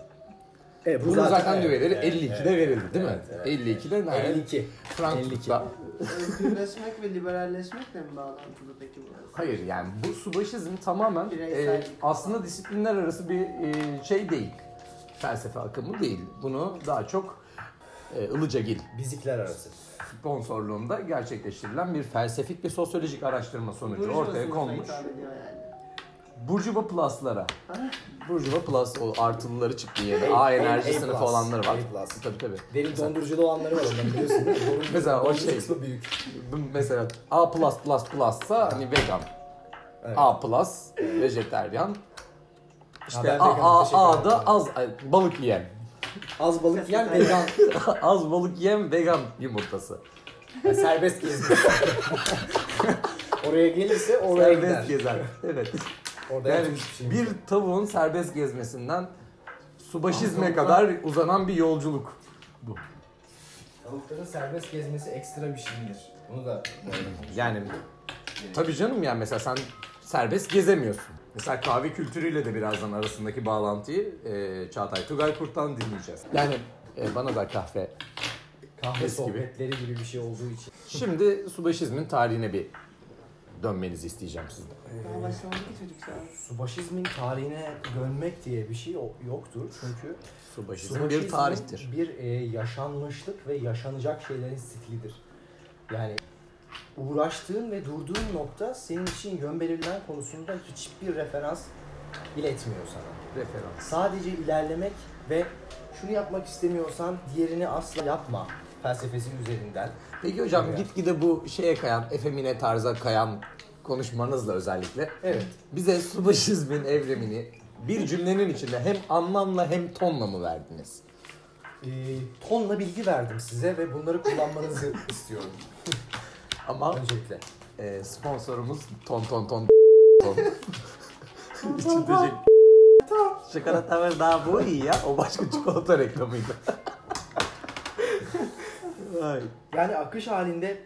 [SPEAKER 11] Evet,
[SPEAKER 3] Bunun zaten düveleri 52'de verildi değil mi? 52'de nerede?
[SPEAKER 11] 52.
[SPEAKER 3] Frankfurt'ta.
[SPEAKER 12] Özgürleşmek ve liberalleşmekle mi bağlantılı peki bu?
[SPEAKER 3] Hayır yani bu subaşizm tamamen
[SPEAKER 12] Bireysel
[SPEAKER 3] e, aslında disiplinler arası bir e, şey değil. Felsefe akımı değil. Bunu daha çok e, Ilıcagil
[SPEAKER 11] Bizikler arası.
[SPEAKER 3] sponsorluğunda gerçekleştirilen bir felsefik ve sosyolojik araştırma sonucu
[SPEAKER 12] Burjuva
[SPEAKER 3] ortaya
[SPEAKER 12] sınıfına
[SPEAKER 3] konmuş.
[SPEAKER 12] hitap ediyor yani.
[SPEAKER 3] Burjuva Plus'lara.
[SPEAKER 12] Ha?
[SPEAKER 3] Burjuva Plus o artılıları çıktı yeni. A enerji
[SPEAKER 11] A
[SPEAKER 3] sınıfı
[SPEAKER 11] plus,
[SPEAKER 3] olanları var.
[SPEAKER 11] A plus.
[SPEAKER 3] Tabii tabii.
[SPEAKER 11] Derin donduruculu olanları var ondan biliyorsun. Dondurucu-
[SPEAKER 3] Mesela o
[SPEAKER 11] dondurucu
[SPEAKER 3] şey.
[SPEAKER 11] kısmı büyük.
[SPEAKER 3] Bu Mesela A+++'sa hani vegan.
[SPEAKER 11] Evet.
[SPEAKER 3] A+, vejeteryan. İşte
[SPEAKER 11] ben
[SPEAKER 3] A,
[SPEAKER 11] veganım,
[SPEAKER 3] A,
[SPEAKER 11] teşekkür
[SPEAKER 3] A da
[SPEAKER 11] ederim.
[SPEAKER 3] az ay, balık yiyen.
[SPEAKER 11] Az balık yiyen
[SPEAKER 12] Aynen.
[SPEAKER 11] vegan.
[SPEAKER 3] az balık yiyen vegan yumurtası.
[SPEAKER 11] Yani serbest gezdi. Oraya gelirse oraya
[SPEAKER 3] Serbest
[SPEAKER 11] gider.
[SPEAKER 3] gezer. Evet.
[SPEAKER 11] Orada
[SPEAKER 3] Yani
[SPEAKER 11] yapacak hiçbir şey yok.
[SPEAKER 3] bir tavuğun serbest gezmesinden subaşizme kadar uzanan bir yolculuk.
[SPEAKER 11] Tavukların serbest gezmesi ekstra bir şeydir. Bunu da
[SPEAKER 3] Yani tabii canım yani mesela sen serbest gezemiyorsun. Mesela kahve kültürüyle de birazdan arasındaki bağlantıyı e, Çağatay Tugay Kurt'tan dinleyeceğiz. Yani e, bana da kahve.
[SPEAKER 11] kahve
[SPEAKER 3] Eski gibi.
[SPEAKER 11] sohbetleri gibi bir şey olduğu için.
[SPEAKER 3] Şimdi subaşizmin tarihine bir dönmenizi isteyeceğim sizden.
[SPEAKER 12] Daha başlamadı ki çocuk şu an.
[SPEAKER 11] Subaşizmin tarihine dönmek diye bir şey o- yoktur çünkü
[SPEAKER 3] Subaşizm
[SPEAKER 11] subaşizm
[SPEAKER 3] bir tarihtir.
[SPEAKER 11] Bir e, yaşanmışlık ve yaşanacak şeylerin stilidir. Yani uğraştığın ve durduğun nokta senin için yön belirlen konusunda hiçbir referans iletmiyor sana.
[SPEAKER 3] Referans.
[SPEAKER 11] Sadece ilerlemek ve şunu yapmak istemiyorsan diğerini asla yapma felsefesi üzerinden.
[SPEAKER 3] Peki hocam
[SPEAKER 11] Evet.
[SPEAKER 3] gitgide bu şeye kayan, efemine tarza kayan konuşmanızla özellikle
[SPEAKER 11] Evet.
[SPEAKER 3] bize subaşizmin evrimini bir cümlenin içinde hem anlamla hem tonla mı verdiniz?
[SPEAKER 11] E, tonla bilgi verdim size ve bunları kullanmanızı istiyorum
[SPEAKER 3] Ama
[SPEAKER 11] öncelikle.
[SPEAKER 3] e, sponsorumuz ton ton ton ton. İçindeki çikolata var daha bu iyi ya. O başka çikolata reklamıydı. Ay.
[SPEAKER 11] Yani akış halinde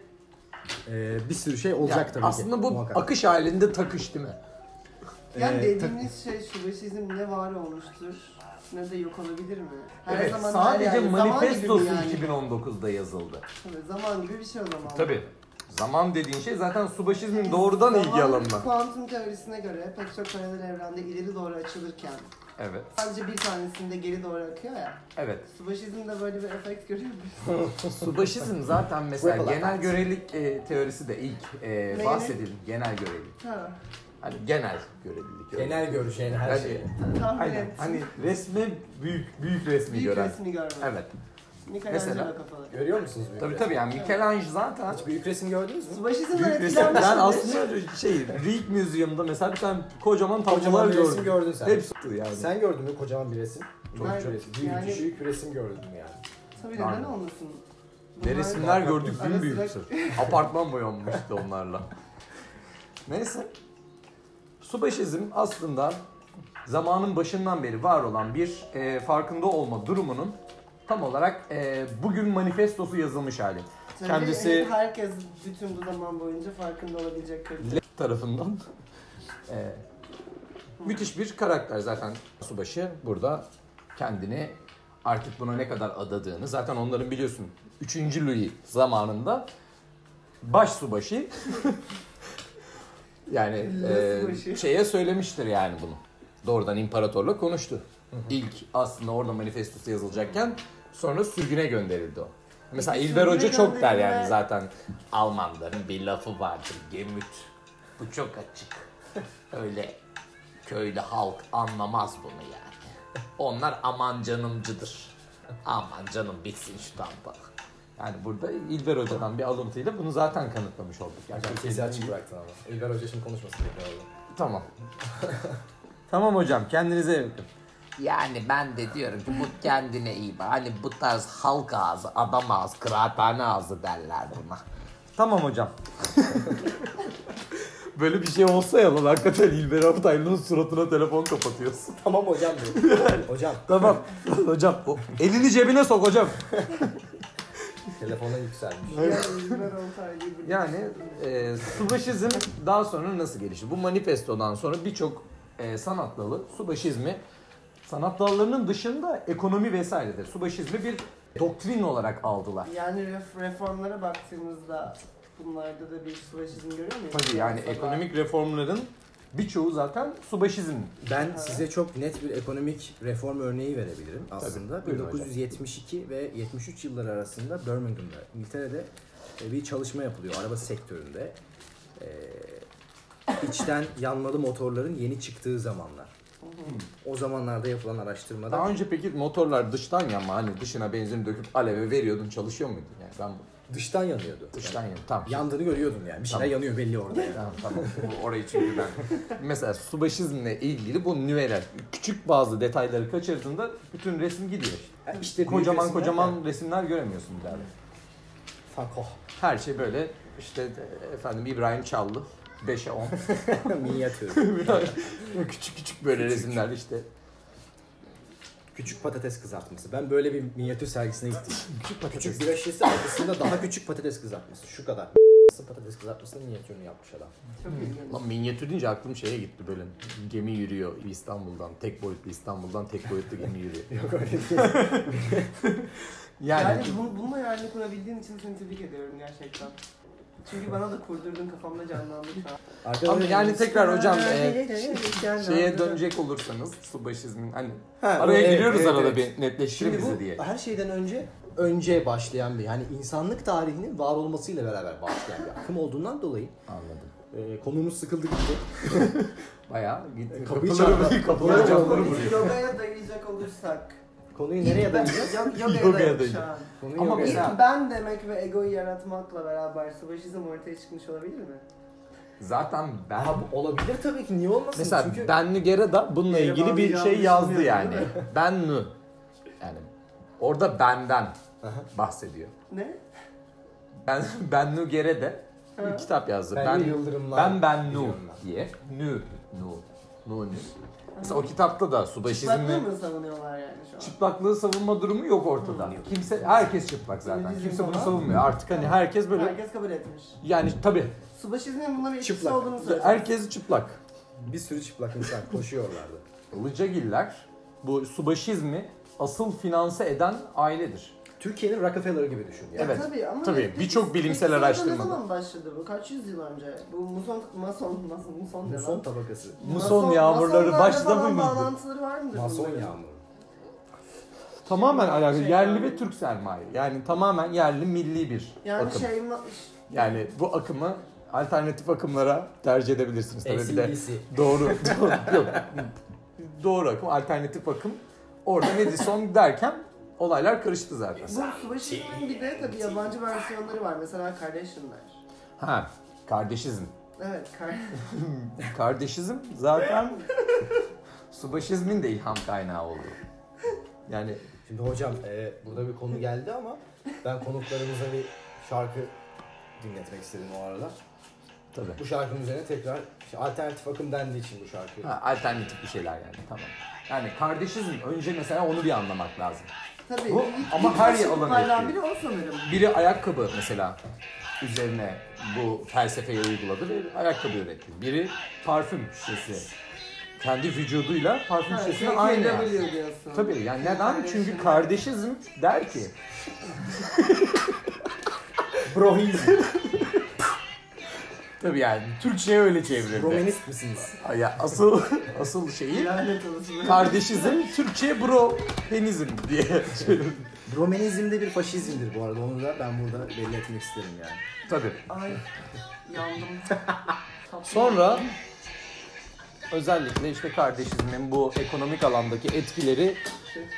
[SPEAKER 11] e, bir sürü şey olacak
[SPEAKER 3] Yani
[SPEAKER 11] tabii ki.
[SPEAKER 3] aslında bu
[SPEAKER 11] muhakkak.
[SPEAKER 3] akış halinde takış değil mi?
[SPEAKER 12] Yani
[SPEAKER 11] Ee,
[SPEAKER 12] dediğiniz şey şubesizm ne var olmuştur ne de yok olabilir mi? Her
[SPEAKER 3] Evet,
[SPEAKER 12] zaman her
[SPEAKER 3] sadece
[SPEAKER 12] yerde,
[SPEAKER 3] manifestosu
[SPEAKER 12] zaman gibi yani.
[SPEAKER 3] 2019'da yazıldı.
[SPEAKER 12] Tabii, zaman gibi bir şey o zaman.
[SPEAKER 3] Tabii. Zaman dediğin şey zaten subaşizmin doğrudan ilgi alanına.
[SPEAKER 12] Kuantum teorisine göre pek çok paralel evrende ileri doğru açılırken
[SPEAKER 3] Evet.
[SPEAKER 12] sadece bir tanesinde geri doğru akıyor ya.
[SPEAKER 3] Evet.
[SPEAKER 12] Subaşizmde böyle bir efekt görüyor musun?
[SPEAKER 3] Subaşizm zaten mesela
[SPEAKER 11] Whipple
[SPEAKER 3] genel
[SPEAKER 11] effect.
[SPEAKER 3] görelilik e, teorisi de ilk e,
[SPEAKER 12] Ne?
[SPEAKER 3] bahsedelim. Genel görelilik.
[SPEAKER 12] Ha.
[SPEAKER 3] Hani genel görelilik. öyle.
[SPEAKER 11] Genel görüş yani her şey.
[SPEAKER 3] Yani-
[SPEAKER 11] şeyi.
[SPEAKER 12] Tahmin
[SPEAKER 3] Aynen.
[SPEAKER 12] et.
[SPEAKER 3] Hani resme büyük büyük resmi
[SPEAKER 12] Büyük
[SPEAKER 3] gören.
[SPEAKER 12] resmi görmek.
[SPEAKER 3] Evet.
[SPEAKER 12] Michelangelo
[SPEAKER 3] Mesela-
[SPEAKER 12] kafaları.
[SPEAKER 11] Görüyor musunuz büyük
[SPEAKER 3] Tabii
[SPEAKER 11] resmi?
[SPEAKER 3] tabii yani Michelangelo zaten
[SPEAKER 11] Hiç büyük resim gördünüz mü?
[SPEAKER 12] Subaşizmden
[SPEAKER 3] büyük resim. Ben
[SPEAKER 12] etkilenmişim.
[SPEAKER 3] aslında şey Greek Museum'da mesela bir tane kocaman tablolar
[SPEAKER 11] Kocaman bir
[SPEAKER 3] gördüm.
[SPEAKER 11] resim gördün sen.
[SPEAKER 3] Hepsi yani.
[SPEAKER 11] Sen gördün mü kocaman bir resim?
[SPEAKER 12] Çok
[SPEAKER 11] büyük
[SPEAKER 12] çok.
[SPEAKER 11] bir resim. Büyük,
[SPEAKER 12] Yani-
[SPEAKER 11] büyük bir resim gördün yani.
[SPEAKER 12] Tabii neden
[SPEAKER 3] Aynen.
[SPEAKER 12] olmasın?
[SPEAKER 3] Ne
[SPEAKER 12] Bunlar-
[SPEAKER 3] resimler gördük
[SPEAKER 12] Ara
[SPEAKER 3] gün
[SPEAKER 12] sıra-
[SPEAKER 3] büyüksün. Apartman boyanmıştı onlarla. Neyse. Subaşizm aslında zamanın başından beri var olan bir e, farkında olma durumunun tam olarak e, bugün manifestosu yazılmış hali.
[SPEAKER 12] Tabii
[SPEAKER 3] Kendisi-
[SPEAKER 12] herkes bütün bu zaman boyunca farkında olabilecek kalite.
[SPEAKER 3] Le tarafından e, müthiş bir karakter zaten Subaşı burada kendini artık buna ne kadar adadığını zaten onların biliyorsun 3. Louis zamanında baş subaşı yani e,
[SPEAKER 12] Subaşı.
[SPEAKER 3] şeye söylemiştir yani bunu. Doğrudan imparatorla konuştu. İlk aslında orada manifestosu yazılacakken sonra sürgüne gönderildi o. Mesela
[SPEAKER 12] Peki
[SPEAKER 3] İlber
[SPEAKER 12] sürgüne
[SPEAKER 3] Hoca çok der
[SPEAKER 12] gönderilme-
[SPEAKER 3] yani zaten Almanların bir lafı vardır gemüt. Bu çok açık. Öyle köylü halk anlamaz bunu yani. Onlar aman canımcıdır. Aman canım bitsin şu tamba. Yani burada İlber Hoca'dan bir alıntıyla bunu zaten kanıtlamış olduk. Yani
[SPEAKER 11] Hocam
[SPEAKER 3] kesin-
[SPEAKER 11] kezi açık bıraktın ama. İlber Hoca şimdi konuşmasın dedi orada.
[SPEAKER 3] Tamam. tamam hocam kendinize iyi bakın. Yani ben de diyorum ki bu kendine iyi bak. Hani bu tarz halk ağzı, adam ağzı, kıraathane ağzı derler buna. Tamam hocam. Böyle bir şey olsa ya lan hakikaten İlber Ortaylı'nın suratına telefon kapatıyorsun.
[SPEAKER 11] Tamam hocam diyor. hocam
[SPEAKER 3] Tamam hocam. o- Elini cebine sok hocam.
[SPEAKER 11] telefona yükselmiş.
[SPEAKER 12] Yani Oltay gibi.
[SPEAKER 3] Yani e, subaşizm daha sonra nasıl gelişti? Bu manifestodan sonra birçok e, sanat dalı subaşizmi sanat dallarının dışında ekonomi vesaire de subaşizmi bir doktrin olarak aldılar.
[SPEAKER 12] Yani ref- reformlara baktığımızda bunlarda da bir subaşizm görüyor muyuz?
[SPEAKER 3] Tabii yani
[SPEAKER 12] Mesela-
[SPEAKER 3] ekonomik reformların birçoğu zaten subaşizm.
[SPEAKER 11] Ben size çok net bir ekonomik reform örneği verebilirim aslında.
[SPEAKER 3] buyurun hocam.
[SPEAKER 11] 1972 ve 73 yılları arasında Birmingham'da, İngiltere'de e, bir çalışma yapılıyor araba sektöründe. E, içten yanmalı motorların yeni çıktığı zamanlar. O zamanlarda yapılan araştırmada
[SPEAKER 3] Hmm. Daha önce peki motorlar dıştan yanma hani dışına benzin döküp aleve veriyordun çalışıyor muydun? Yani ben bu-
[SPEAKER 11] dıştan yanıyordu.
[SPEAKER 3] dıştan yanıyorum. Tamam.
[SPEAKER 11] Yandığını görüyordum yani. Bir şeyler
[SPEAKER 3] Tamam.
[SPEAKER 11] yanıyor belli orada. yani.
[SPEAKER 3] Tamam tamam. Bu- Orayı çünkü ben. Mesela subaşizmle ilgili bu nüveler. Küçük bazı detayları kaçırdığında bütün resim gidiyor.
[SPEAKER 11] Yani işte büyük
[SPEAKER 3] Kocaman
[SPEAKER 11] resimler
[SPEAKER 3] kocaman
[SPEAKER 11] yani.
[SPEAKER 3] resimler göremiyorsun bir daha.
[SPEAKER 11] Fakoh.
[SPEAKER 3] Her şey böyle işte e, efendim İbrahim Çallı 5'e 10.
[SPEAKER 11] Minyatür.
[SPEAKER 3] küçük küçük böyle resimler işte.
[SPEAKER 11] Küçük patates kızartması. Ben böyle bir minyatür sergisine gittim. küçük patates. Küçük bir şişesi arkasında daha küçük patates kızartması. Şu kadar. patates kızartmasının minyatürünü yapmış adam.
[SPEAKER 12] Çok ilginç.
[SPEAKER 3] Lan minyatür deyince aklım şeye gitti böyle. Gemi yürüyor İstanbul'dan. Tek boyutlu İstanbul'dan tek boyutlu gemi yürüyor.
[SPEAKER 11] Yok öyle değil.
[SPEAKER 12] Yani
[SPEAKER 3] Yani
[SPEAKER 12] bu- bununla yarını kurabildiğin için seni tebrik ediyorum gerçekten. Çünkü bana da kurdurdun kafamda canlandı şu an.
[SPEAKER 11] Arkadaşlar
[SPEAKER 3] ama yani tekrar hocam e,
[SPEAKER 12] Şey-
[SPEAKER 3] şeye dönecek olursanız subaşizmin hani
[SPEAKER 11] Ha,
[SPEAKER 3] araya
[SPEAKER 11] evet,
[SPEAKER 3] giriyoruz
[SPEAKER 11] evet,
[SPEAKER 3] arada
[SPEAKER 11] evet.
[SPEAKER 3] bir netleştirin
[SPEAKER 11] Şimdi
[SPEAKER 3] bizi
[SPEAKER 11] bu
[SPEAKER 3] diye.
[SPEAKER 11] her şeyden önce önce başlayan bir yani insanlık tarihinin var olmasıyla beraber başlayan bir akım olduğundan dolayı
[SPEAKER 3] Anladım.
[SPEAKER 11] e, konumuz sıkıldı gitti.
[SPEAKER 3] Bayağı gitti.
[SPEAKER 11] E, Kapıyı
[SPEAKER 3] kapıları,
[SPEAKER 11] çarptı.
[SPEAKER 3] kapıları camları
[SPEAKER 12] Konuyu
[SPEAKER 3] vuruyor.
[SPEAKER 12] Yogaya dayayacak olursak.
[SPEAKER 11] Konuyu nereye dayayacağız?
[SPEAKER 12] Yo-
[SPEAKER 3] Yogaya
[SPEAKER 12] Yogaya dayadık şu
[SPEAKER 3] dayayacak.
[SPEAKER 12] an.
[SPEAKER 11] Konuyu
[SPEAKER 3] Ama
[SPEAKER 11] Ama
[SPEAKER 3] mesela-
[SPEAKER 12] İlk ben demek ve egoyu yaratmakla beraber savaşizm ortaya çıkmış olabilir mi?
[SPEAKER 3] Zaten ben
[SPEAKER 11] olabilir tabii ki niye olmasın?
[SPEAKER 3] Mesela
[SPEAKER 11] Çünkü
[SPEAKER 3] Bennu Gera da bununla
[SPEAKER 12] Gera
[SPEAKER 3] ilgili
[SPEAKER 12] abi
[SPEAKER 3] bir
[SPEAKER 12] yanlış
[SPEAKER 3] şey yazdı
[SPEAKER 12] biliyor,
[SPEAKER 3] yani.
[SPEAKER 12] değil
[SPEAKER 3] Bennu. Yani orada benden bahsediyor.
[SPEAKER 12] Ne?
[SPEAKER 3] Ben Bennu Gere de bir kitap yazdı.
[SPEAKER 11] Bennu
[SPEAKER 3] Ben
[SPEAKER 11] Yıldırımlar
[SPEAKER 3] Ben Bennu
[SPEAKER 11] biliyorum ben.
[SPEAKER 3] diye. Nü nu nu nü. Mesela o kitapta da
[SPEAKER 12] Çıplaklığı
[SPEAKER 3] subaşizmi
[SPEAKER 12] mı savunuyorlar yani şu an?
[SPEAKER 3] çıplaklığı savunma durumu yok ortada. Kimse herkes çıplak zaten.
[SPEAKER 12] Bizim
[SPEAKER 3] Kimse bunu
[SPEAKER 12] falan.
[SPEAKER 3] savunmuyor. Artık hani herkes böyle
[SPEAKER 12] Herkes kabul etmiş.
[SPEAKER 3] yani tabii
[SPEAKER 12] Subaşizmin bununla bir ilişkisi
[SPEAKER 11] Çıplak.
[SPEAKER 12] olduğunu söylüyor.
[SPEAKER 3] herkes çıplak.
[SPEAKER 11] bir sürü çıplak insan koşuyorlardı.
[SPEAKER 3] Ilıcagiller bu subaşizmi asıl finanse eden ailedir.
[SPEAKER 11] Türkiye'nin Rockefeller gibi düşün yani.
[SPEAKER 3] Evet.
[SPEAKER 12] Tabii ama
[SPEAKER 3] Tabii,
[SPEAKER 12] peki-
[SPEAKER 3] birçok
[SPEAKER 12] peki
[SPEAKER 3] bilimsel
[SPEAKER 12] sonra
[SPEAKER 3] araştırmada.
[SPEAKER 12] Ne zaman başladı bu? Kaç yüzyıl önce? Bu muson, mason, mason, muson ne
[SPEAKER 11] Muson
[SPEAKER 12] lan?
[SPEAKER 11] tabakası.
[SPEAKER 3] Muson yağmurları
[SPEAKER 12] masonlarla
[SPEAKER 3] başladı
[SPEAKER 12] falan
[SPEAKER 3] mıydı?
[SPEAKER 12] Bağlantıları var mıdır?
[SPEAKER 11] Mason
[SPEAKER 12] bunların?
[SPEAKER 11] yağmuru.
[SPEAKER 3] Tamamen alakalı.
[SPEAKER 12] Şey
[SPEAKER 3] yerli
[SPEAKER 12] yani.
[SPEAKER 3] ve Türk sermaye. Yani şey- tamamen yerli milli bir
[SPEAKER 12] Yani
[SPEAKER 3] akım.
[SPEAKER 12] şey ma-
[SPEAKER 3] Yani bu akımı alternatif akımlara tercih edebilirsiniz. Tabii bir de
[SPEAKER 11] SCBC.
[SPEAKER 3] doğru, doğru, yok. doğru akım, alternatif akım. Orada Madison derken olaylar karıştı zaten.
[SPEAKER 12] Bu Subashima'nın bir de tabii yabancı versiyonları var. Mesela Kardashian'lar.
[SPEAKER 3] Ha, kardeşizm.
[SPEAKER 12] Evet, kar
[SPEAKER 3] Kardeşizm zaten subaşizmin de ilham kaynağı oldu. Yani
[SPEAKER 11] Şimdi hocam e, burada bir konu geldi ama ben konuklarımıza bir şarkı dinletmek istedim o aralar.
[SPEAKER 3] Tabii.
[SPEAKER 11] Bu şarkının üzerine tekrar işte alternatif akım dendiği için bu şarkı.
[SPEAKER 3] ha, alternatif bir şeyler yani tamam. Yani kardeşizm önce mesela onu bir anlamak lazım.
[SPEAKER 12] Tabii.
[SPEAKER 3] Bu
[SPEAKER 12] ilk-
[SPEAKER 3] ama
[SPEAKER 12] ilk
[SPEAKER 3] her
[SPEAKER 12] başta
[SPEAKER 3] alana
[SPEAKER 12] tutarlan
[SPEAKER 3] etkili.
[SPEAKER 12] biri o sanırım.
[SPEAKER 3] Biri ayakkabı mesela üzerine bu felsefeyi uyguladı ve ayakkabı üretti. Biri parfüm şişesi. Kendi vücuduyla parfüm
[SPEAKER 12] Ha,
[SPEAKER 3] şişesine
[SPEAKER 12] KKW
[SPEAKER 3] aynı. yani.
[SPEAKER 12] diyorsun.
[SPEAKER 3] Tabii yani neden?
[SPEAKER 12] Kardeşim.
[SPEAKER 3] Çünkü kardeşizm der ki
[SPEAKER 11] Brohizm.
[SPEAKER 3] Tabii yani Türkçe'ye öyle çevrildi.
[SPEAKER 11] Romanist misiniz?
[SPEAKER 3] Ay Ya asıl asıl şeyi
[SPEAKER 12] Lanet olsun.
[SPEAKER 3] kardeşizm Türkçe bro penizm diye çevrildi.
[SPEAKER 11] Romanizm de bir faşizmdir bu arada. Onu da ben burada belli etmek isterim yani.
[SPEAKER 3] Tabii.
[SPEAKER 12] Ay yandım.
[SPEAKER 3] Sonra özellikle işte kardeşizmin bu ekonomik alandaki etkileri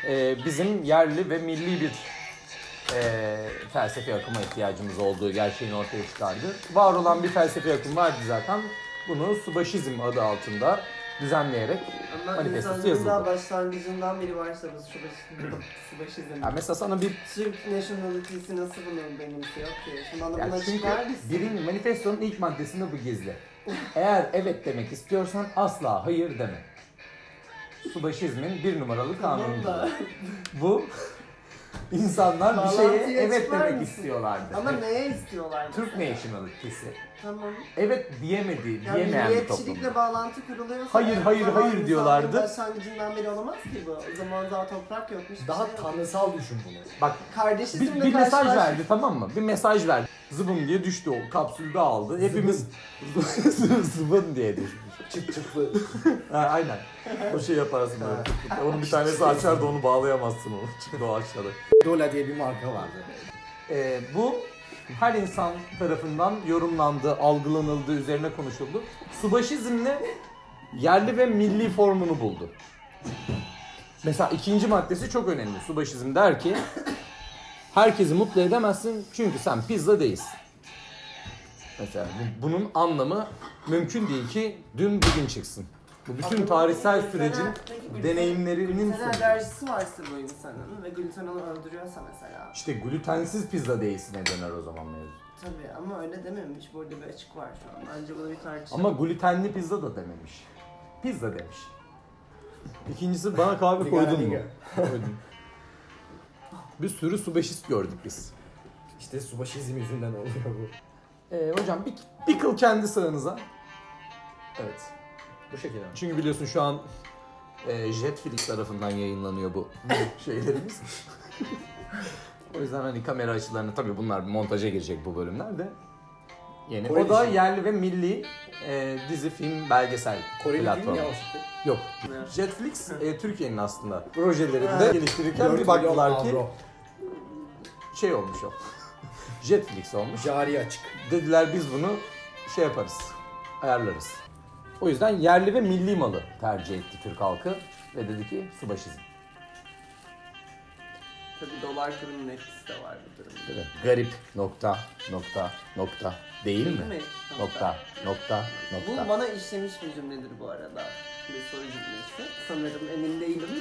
[SPEAKER 3] e, bizim yerli ve milli bir e, felsefi akıma ihtiyacımız olduğu gerçeğini ortaya çıkardı. Var olan bir felsefi akım vardı zaten. Bunu subaşizm adı altında düzenleyerek
[SPEAKER 12] Ama
[SPEAKER 3] manifestosu
[SPEAKER 12] insanlığın daha
[SPEAKER 3] yazıldı.
[SPEAKER 12] başlangıcından beri varsa biz Subashim- Subashizm.
[SPEAKER 3] Ya mesela sana bir
[SPEAKER 12] Türk nationality'si nasıl bunu benimsiyor ki? Şimdi bana
[SPEAKER 3] Ya
[SPEAKER 12] bunu
[SPEAKER 3] çünkü
[SPEAKER 12] açıklar mısın?
[SPEAKER 3] birinci manifestonun ilk maddesinde bu gizli. Eğer evet demek istiyorsan asla hayır deme. Subaşizmin bir numaralı
[SPEAKER 12] Tamam da.
[SPEAKER 3] kanunu. bu insanlar bir şeye
[SPEAKER 12] Bağlantıyı
[SPEAKER 3] evet
[SPEAKER 12] açıklar
[SPEAKER 3] demek
[SPEAKER 12] mısın?
[SPEAKER 3] istiyorlardı.
[SPEAKER 12] Ama neye istiyorlar?
[SPEAKER 3] Türk nationality'si.
[SPEAKER 12] Tamam.
[SPEAKER 3] Evet diyemedi,
[SPEAKER 12] Yani
[SPEAKER 3] diyemeyen bir toplum.
[SPEAKER 12] milliyetçilikle bağlantı kuruluyorsa...
[SPEAKER 3] Hayır,
[SPEAKER 12] yani o
[SPEAKER 3] hayır,
[SPEAKER 12] zaman
[SPEAKER 3] hayır
[SPEAKER 12] insanlığın
[SPEAKER 3] diyorlardı.
[SPEAKER 12] başlangıcından beri olamaz ki bu. O zaman daha toprak yokmuş. bir
[SPEAKER 11] Daha
[SPEAKER 12] şey yok.
[SPEAKER 11] tanrısal düşün bunu.
[SPEAKER 3] Bak
[SPEAKER 12] Kardeşizmle
[SPEAKER 3] bir, bir mesaj
[SPEAKER 12] karşılaş-
[SPEAKER 3] verdi tamam mı? Bir mesaj verdi. Zıbın diye düştü o kapsülde aldı. Hepimiz zıbın diye düştü.
[SPEAKER 11] Çıt çıtlı.
[SPEAKER 3] Ha, aynen. O şey yaparsın böyle. Onun bir tanesi açar da onu bağlayamazsın onu. Çünkü o aşağıda.
[SPEAKER 11] Dola diye bir marka vardı.
[SPEAKER 3] Ee, bu her insan tarafından yorumlandı, algılanıldı, üzerine konuşuldu. Subaşizmle yerli ve milli formunu buldu. Mesela ikinci maddesi çok önemli. Subaşizm der ki herkesi mutlu edemezsin çünkü sen pizza değilsin. Mesela bu- bunun anlamı mümkün değil ki dün bugün çıksın. Bu bütün
[SPEAKER 12] Aslında
[SPEAKER 3] tarihsel
[SPEAKER 12] glutena-
[SPEAKER 3] sürecin
[SPEAKER 12] peki gluten-
[SPEAKER 3] deneyimlerinin
[SPEAKER 12] Gluten
[SPEAKER 3] sonucu.
[SPEAKER 12] alerjisi varsa bu insanın ve gluten onu öldürüyorsa mesela.
[SPEAKER 3] İşte glutensiz pizza değilsine döner o zaman mevzu.
[SPEAKER 12] Tabii ama öyle dememiş. Burada bir açık var şu an. Bence bunu bir tartışalım.
[SPEAKER 3] Ama glutenli pizza da dememiş. Pizza demiş. İkincisi bana kahve koydun mu?
[SPEAKER 11] Ligara.
[SPEAKER 3] Koydum. Bir sürü subeşist gördük biz.
[SPEAKER 11] İşte subaşizm yüzünden oluyor bu.
[SPEAKER 3] Ee, hocam bir, bir kıl kendi sağınıza.
[SPEAKER 11] Evet. Bu şekilde.
[SPEAKER 3] Çünkü biliyorsun şu an e, Jetflix tarafından yayınlanıyor bu şeylerimiz. o yüzden hani kamera açılarını tabii bunlar montaja girecek bu bölümler de. Yeni.
[SPEAKER 11] Kore
[SPEAKER 3] O da
[SPEAKER 11] dizisi.
[SPEAKER 3] yerli ve milli e, dizi, film, belgesel
[SPEAKER 11] Koreli değil mi
[SPEAKER 3] platformu.
[SPEAKER 11] yanlışlıkla?
[SPEAKER 3] Yok. Jetflix e, Türkiye'nin aslında projelerinde geliştirirken bir baktılar ki şey olmuş o. Jetflix olmuş.
[SPEAKER 11] Cari açık.
[SPEAKER 3] Dediler biz bunu şey yaparız, ayarlarız. O yüzden yerli ve milli malı tercih etti Türk halkı ve dedi ki subaşizm.
[SPEAKER 12] Tabii dolar kurunun etkisi de var bu durumda.
[SPEAKER 3] Değil mi? Garip nokta nokta nokta değil, mi?
[SPEAKER 12] mi?
[SPEAKER 3] Nokta nokta
[SPEAKER 12] Bu
[SPEAKER 3] nokta.
[SPEAKER 12] bana işlemiş bir cümledir bu arada. Bir soru cümlesi. Sanırım emin değilim.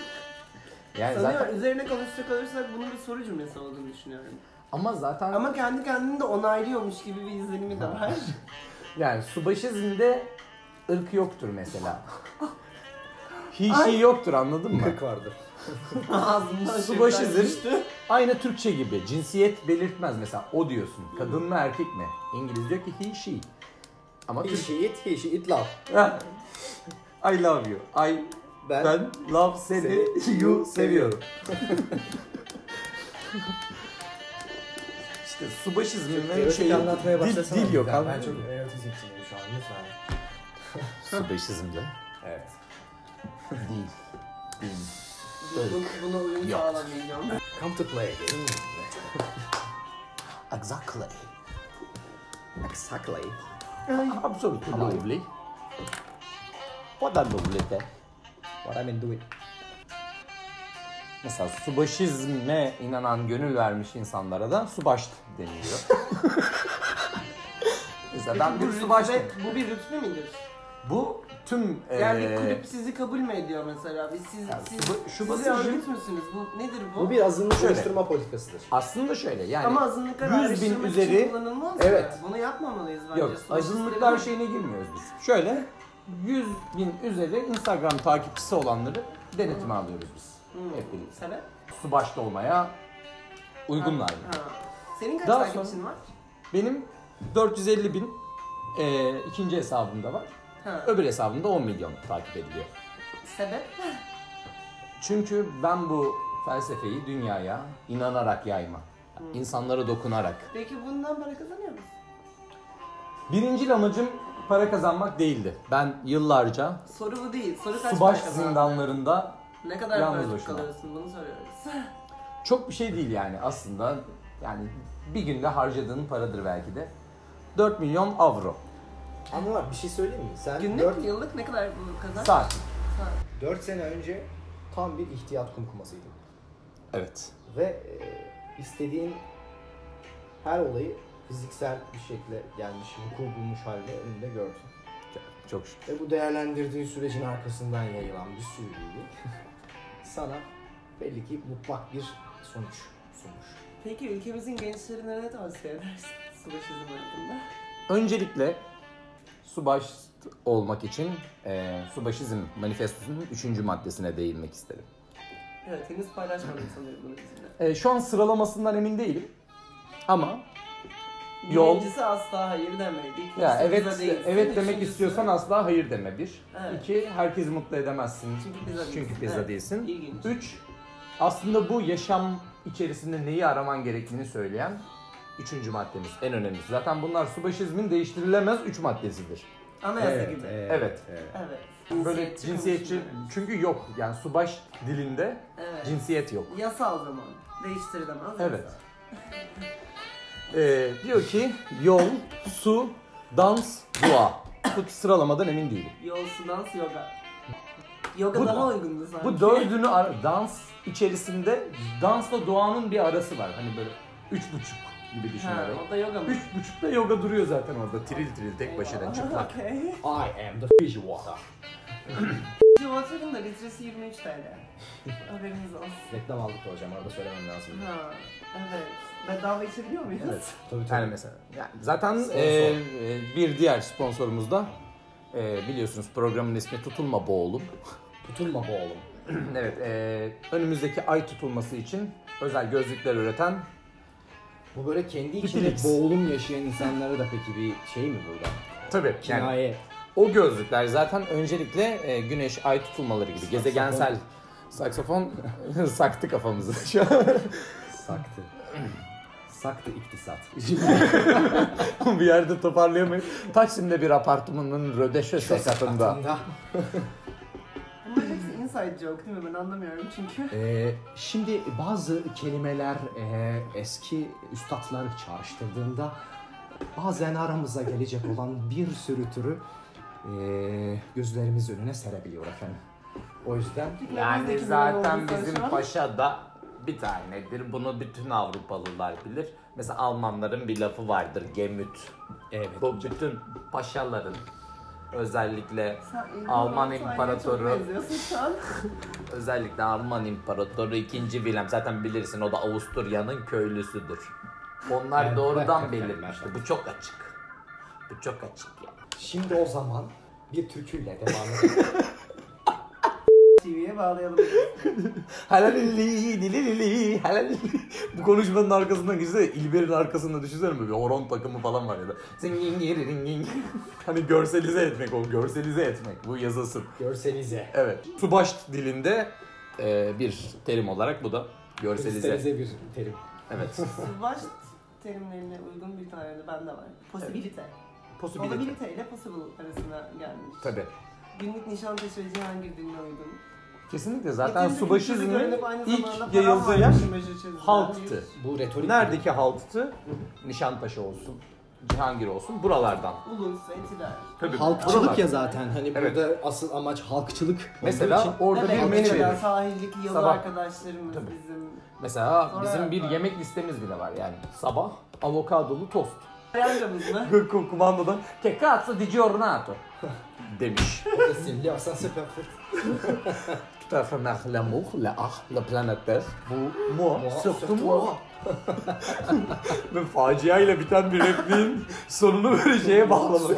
[SPEAKER 3] Yani
[SPEAKER 12] Sanıyorum
[SPEAKER 3] zaten
[SPEAKER 12] üzerine konuşacak olursak bunun bir soru cümlesi olduğunu düşünüyorum.
[SPEAKER 3] ama zaten
[SPEAKER 12] Ama kendi kendini de onaylıyormuş gibi bir izlenimi de var.
[SPEAKER 3] yani subaşizmde ırk yoktur mesela. Hiç
[SPEAKER 12] Ay.
[SPEAKER 3] şey yoktur anladın mı?
[SPEAKER 11] Kırk vardır.
[SPEAKER 12] Ağzımda aşırı
[SPEAKER 3] Subaşizm
[SPEAKER 12] güzel düştü.
[SPEAKER 3] aynı Türkçe gibi cinsiyet belirtmez mesela o diyorsun. Kadın mı erkek mi? İngiliz diyor ki he she. Ama
[SPEAKER 11] He
[SPEAKER 3] Türk
[SPEAKER 11] she it, he she it love.
[SPEAKER 3] I love you. I
[SPEAKER 11] Ben,
[SPEAKER 3] ben love seni, you seviyorum. işte subaşizmin
[SPEAKER 11] erotik
[SPEAKER 3] şeyi
[SPEAKER 11] anlatmaya
[SPEAKER 3] şey dil,
[SPEAKER 11] başlasana.
[SPEAKER 3] dil yok
[SPEAKER 11] Ya
[SPEAKER 3] anladın
[SPEAKER 11] Ben çok
[SPEAKER 3] mı?
[SPEAKER 11] erotizm içindeyim şu an lütfen.
[SPEAKER 3] Subaşizmde
[SPEAKER 11] Evet.
[SPEAKER 3] değil. Değil.
[SPEAKER 12] Bu- Buna uyum
[SPEAKER 3] Yok.
[SPEAKER 12] sağlamayacağım.
[SPEAKER 11] Come to play.
[SPEAKER 3] Exactly.
[SPEAKER 11] Exactly.
[SPEAKER 13] Absolutely lovely. What a lovely day.
[SPEAKER 11] What I mean do it.
[SPEAKER 3] Mesela subaşizme inanan gönül vermiş insanlara da subaşt deniliyor. Mesela ben bir
[SPEAKER 12] rütbe-
[SPEAKER 3] subaştım.
[SPEAKER 12] bu bir rütbe midir?
[SPEAKER 3] Bu tüm e,
[SPEAKER 12] Yani
[SPEAKER 3] eee,
[SPEAKER 12] bir kulüp sizi kabul mü ediyor mesela? Biz siz, siz,
[SPEAKER 3] Ee, bu- şu
[SPEAKER 12] sizi
[SPEAKER 3] basıncı-
[SPEAKER 12] örgüt müsünüz? Bu nedir bu?
[SPEAKER 11] Bu bir azınlık
[SPEAKER 3] Şöyle.
[SPEAKER 11] oluşturma politikasıdır.
[SPEAKER 3] aslında şöyle yani
[SPEAKER 12] Ama azınlıklar
[SPEAKER 3] 100 hani bin
[SPEAKER 12] ayrıştırmak için
[SPEAKER 3] üzeri
[SPEAKER 12] kullanılmaz mı?
[SPEAKER 3] evet
[SPEAKER 12] Bunu yapmamalıyız bence.
[SPEAKER 3] yok şey-
[SPEAKER 12] Sonuç
[SPEAKER 3] azınlıklar
[SPEAKER 12] istediğimiz-
[SPEAKER 3] şeyine girmiyoruz biz. Şöyle 100 bin üzeri Instagram takipçisi olanları denetime alıyoruz biz.
[SPEAKER 12] Hmm.
[SPEAKER 3] Hep birlikte.
[SPEAKER 12] Sebep?
[SPEAKER 3] Subaşlı olmaya uygunlar.
[SPEAKER 12] Ha. Senin kaç
[SPEAKER 3] Daha
[SPEAKER 12] takipçin var?
[SPEAKER 3] Benim 450 bin eee, ikinci hesabımda var.
[SPEAKER 12] Ha.
[SPEAKER 3] Öbür hesabımda 10 milyon takip ediliyor.
[SPEAKER 12] Sebep?
[SPEAKER 3] Çünkü ben bu felsefeyi dünyaya inanarak yayma. insanlara dokunarak.
[SPEAKER 12] Peki bundan para kazanıyor musun?
[SPEAKER 3] Birincil amacım para kazanmak değildi. Ben yıllarca
[SPEAKER 12] Soru bu değil. Soru kaç
[SPEAKER 3] subaş
[SPEAKER 12] para kazandın?
[SPEAKER 3] zindanlarında
[SPEAKER 12] Ne kadar
[SPEAKER 3] yalnız
[SPEAKER 12] para
[SPEAKER 3] başıma.
[SPEAKER 12] kalıyorsun bunu soruyoruz.
[SPEAKER 3] çok bir şey değil yani aslında. Yani bir günde harcadığın paradır belki de. 4 milyon avro
[SPEAKER 11] Ama bak bir şey söyleyeyim mi? Sen
[SPEAKER 12] Günlük
[SPEAKER 11] 4,
[SPEAKER 12] mü, yıllık ne kadar bu kazan?
[SPEAKER 3] saat.
[SPEAKER 12] Saat.
[SPEAKER 11] sene önce tam bir ihtiyat kumkumasıydın.
[SPEAKER 3] Evet.
[SPEAKER 11] Ve e, istediğin her olayı fiziksel bir şekilde gelmiş, hukuk bulmuş halde önünde gördün.
[SPEAKER 3] Çok şükür.
[SPEAKER 11] Ve bu değerlendirdiğin sürecin arkasından yayılan bir sürü bilgi sana belli ki mutlak bir sonuç sunmuş.
[SPEAKER 12] Peki ülkemizin gençlerine ne tavsiye edersin? Subaşizm hakkında.
[SPEAKER 3] Öncelikle subaş olmak için eee subaşizm manifestosunun 3. maddesine değinmek isterim.
[SPEAKER 12] Evet henüz paylaşmadım sanırım bunu bizimle.
[SPEAKER 3] Ee, şu an sıralamasından emin değilim. Ama Yol.
[SPEAKER 12] Birincisi asla hayır demeydi. İkincisi
[SPEAKER 3] ya evet
[SPEAKER 12] bize değil.
[SPEAKER 3] evet demek
[SPEAKER 12] Üçüncüsü-
[SPEAKER 3] istiyorsan asla hayır deme bir.
[SPEAKER 12] Evet.
[SPEAKER 3] İki herkesi mutlu edemezsin.
[SPEAKER 12] Çünkü pizza değilsin.
[SPEAKER 3] Çünkü pizza
[SPEAKER 12] Evet.
[SPEAKER 3] değilsin.
[SPEAKER 12] İlginç.
[SPEAKER 3] Üç aslında bu yaşam içerisinde neyi araman gerektiğini söyleyen üçüncü maddemiz en önemlisi. Zaten bunlar subaşizmin değiştirilemez üç maddesidir.
[SPEAKER 12] Anayasa gibi.
[SPEAKER 3] Evet.
[SPEAKER 12] Evet.
[SPEAKER 3] Böyle cinsiyetçi
[SPEAKER 12] konuşmaları.
[SPEAKER 3] çünkü yok yani subaş dilinde
[SPEAKER 12] Evet.
[SPEAKER 3] cinsiyet yok.
[SPEAKER 12] Yasal zaman. Değiştirilemez.
[SPEAKER 3] Evet.
[SPEAKER 12] yasal.
[SPEAKER 3] Ee, diyor ki yol, su, dans, dua. Bu sıralamadan emin değilim.
[SPEAKER 12] Yol, su, dans, yoga. Yoga
[SPEAKER 3] Bu-
[SPEAKER 12] daha uygundu sanki.
[SPEAKER 3] Bu dördünü ar- dans içerisinde dansla duanın bir arası var. Hani böyle üç buçuk gibi
[SPEAKER 12] Ha,
[SPEAKER 3] düşünerek.
[SPEAKER 12] o da yoga mı?
[SPEAKER 3] Üç buçukta yoga duruyor zaten orada tril tril tek başına çıplak.
[SPEAKER 12] Okey.
[SPEAKER 11] I am the fish water.
[SPEAKER 12] Water'ın da litresi 23 TL. Haberiniz olsun.
[SPEAKER 11] Reklam aldık da hocam arada söylemem lazım.
[SPEAKER 12] Ha, evet. Bedava içebiliyor muyuz?
[SPEAKER 3] Evet.
[SPEAKER 11] Tabii tabii.
[SPEAKER 3] Yani mesela. Yani zaten
[SPEAKER 11] Sponsor.
[SPEAKER 3] e, e, bir diğer sponsorumuz da e, biliyorsunuz programın ismi Tutulma Boğulum.
[SPEAKER 11] Tutulma bu oğlum.
[SPEAKER 3] evet. e, önümüzdeki ay tutulması için özel gözlükler üreten
[SPEAKER 11] Bu böyle kendi içinde
[SPEAKER 3] Pipilex.
[SPEAKER 11] boğulum yaşayan insanlara da peki bir şey mi burada?
[SPEAKER 3] Tabii yani
[SPEAKER 11] Kinaye.
[SPEAKER 3] o gözlükler zaten öncelikle e, güneş ay tutulmaları gibi gezegensel saksafon saktı kafamızı şu an.
[SPEAKER 11] Saktı. Saktı iktisat.
[SPEAKER 3] bir yerde toparlayamayız. Taksim'de bir apartmanın rödeşe sokakında.
[SPEAKER 11] Aslında,
[SPEAKER 12] Bunların hepsi inside joke değil mi? Ben anlamıyorum çünkü.
[SPEAKER 11] e, şimdi bazı kelimeler e, eski üstadları çağrıştırdığında bazen aramıza gelecek olan bir sürü türü e, gözlerimiz önüne serebiliyor efendim. O yüzden
[SPEAKER 13] Yani
[SPEAKER 12] Önümüzdeki
[SPEAKER 13] zaten
[SPEAKER 12] bölüm oldu
[SPEAKER 13] bizim
[SPEAKER 12] şu an.
[SPEAKER 13] paşa da bir tanedir. Bunu bütün Avrupalılar bilir. Mesela Almanların bir lafı vardır. Gemüt.
[SPEAKER 11] evet.
[SPEAKER 13] Bu bütün paşaların özellikle
[SPEAKER 12] Sen İngiliz
[SPEAKER 13] Alman
[SPEAKER 12] olsaydın
[SPEAKER 13] İmparatoru
[SPEAKER 12] çok benziyorsun şu an.
[SPEAKER 13] özellikle Alman İmparatoru 2. Wilhelm zaten bilirsin o da Avusturya'nın köylüsüdür. Onlar
[SPEAKER 11] Evet,
[SPEAKER 13] doğrudan
[SPEAKER 11] evet, evet,
[SPEAKER 13] belirmişti. Bu çok açık. Bu çok açık ya.
[SPEAKER 11] Şimdi o zaman bir türküyle devam edelim.
[SPEAKER 12] TV'ye bağlayalım.
[SPEAKER 3] Halalili, dilili, halalili. Bu konuşmanın arkasından gizli İlber'in arkasında düşünsene böyle bir horon takımı falan var ya da. Zingin girin, ging. hani görselize etmek o, görselize etmek. Bu yazılsın.
[SPEAKER 11] Görselize.
[SPEAKER 3] Evet. Tubaş dilinde e, bir terim olarak bu da görselize.
[SPEAKER 11] Görselize bir terim.
[SPEAKER 3] Evet.
[SPEAKER 12] Baş terimlerine uygun bir tane de bende var. Posibilite.
[SPEAKER 3] Possibility.
[SPEAKER 12] Olabilite ile possible arasında gelmiş.
[SPEAKER 3] Tabii.
[SPEAKER 12] Günlük Nişantaşı ve Cihangir diline uygun.
[SPEAKER 3] Kesinlikle zaten
[SPEAKER 12] Bütün kültürü
[SPEAKER 3] subaşizmin
[SPEAKER 12] görünüp aynı zamanda
[SPEAKER 3] ilk
[SPEAKER 12] para
[SPEAKER 3] yayıldığı yer
[SPEAKER 12] varmış meşe çözümler.
[SPEAKER 3] halktı.
[SPEAKER 11] Bu retorik.
[SPEAKER 3] Neredeki haltı? Nişantaşı olsun. Cihangir olsun buralardan.
[SPEAKER 12] Ulus, Etiler.
[SPEAKER 3] Tabii
[SPEAKER 11] Halkçılık
[SPEAKER 3] buralar.
[SPEAKER 11] ya zaten. Hani
[SPEAKER 3] Evet.
[SPEAKER 11] burada asıl amaç halkçılık. olduğu
[SPEAKER 3] Mesela
[SPEAKER 11] için-
[SPEAKER 3] orada bir menü
[SPEAKER 12] Etiler,
[SPEAKER 3] verir.
[SPEAKER 12] Sahildeki yalı
[SPEAKER 3] Sabah.
[SPEAKER 12] arkadaşlarımız bizim.
[SPEAKER 3] Mesela
[SPEAKER 12] Sonra
[SPEAKER 3] bizim bir
[SPEAKER 12] yapar.
[SPEAKER 3] yemek listemiz bile var yani. Sabah avokadolu tost.
[SPEAKER 12] Rangamız mı?
[SPEAKER 3] Kum- Kumandadan che cazzo di giornato demiş.
[SPEAKER 11] Simli asansör yaptık.
[SPEAKER 3] Tout à fait nach l'amour, la ah, la planète Terre. Bu moi,
[SPEAKER 11] Moi,
[SPEAKER 3] surtout
[SPEAKER 11] surtout
[SPEAKER 3] moi. Ve faciayla biten bir repliğin sonunu böyle şeye bağlamak.